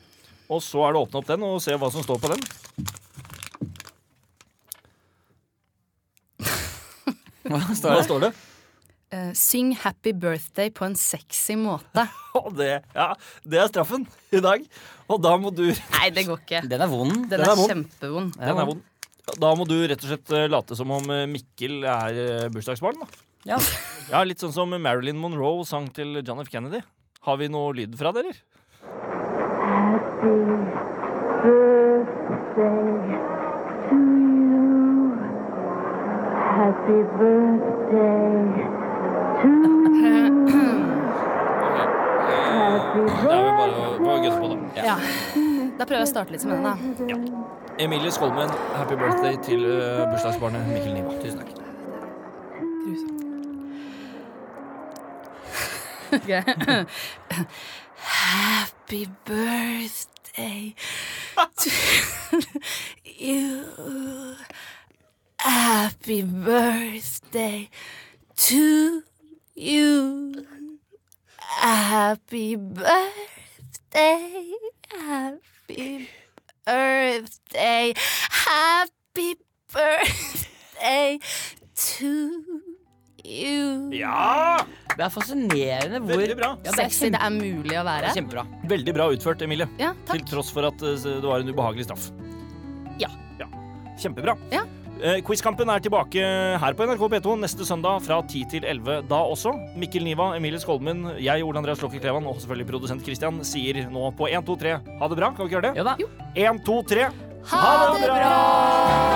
Og så er det å åpne opp den og se hva som står på den.
Hva
Hva
står det?
står det?
Eh, syng 'Happy Birthday' på en sexy måte.
Og det, ja, det er straffen i dag. Og da må du
Nei, det går ikke.
Den er vond.
Den
Den er
er
vond.
kjempevond.
Den er vond. Da må du rett og slett eh, late som om eh, Mikkel er eh, bursdagsbarn. da.
Ja.
Ja, Litt sånn som Marilyn Monroe sang til John F. Kennedy. Har vi noe lyd fra dere? Det er vel bare å- bare å gønne på, da.
Ja. Da prøver jeg å starte litt som den, da.
Emilie Skolmen, happy birthday til eh, bursdagsbarnet Mikkel Niva. Tusen takk.
Grusomt. Ok. Happy birthday to you. Happy birthday to you. Happy birthday. Happy birthday. Happy birthday to you.
Ja!
Det er fascinerende hvor
Veldig bra.
Ja, det er
Sexy det er mulig å være.
Kjempebra.
Veldig bra utført, Emilie.
Ja, takk.
Til tross for at eh, det var en ubehagelig straff.
Ja.
Kjempebra.
Ja.
Eh, Quizkampen er tilbake her på NRK P2 neste søndag fra 10 til 11 da også. Mikkel Niva, Emilie Skolmen, jeg, Ole Andreas Låke Klevan og selvfølgelig produsent Christian sier nå på 1, 2, 3 ha det bra. Kan vi ikke gjøre det?
Jo da.
Jo. 1, 2, 3
Ha det bra!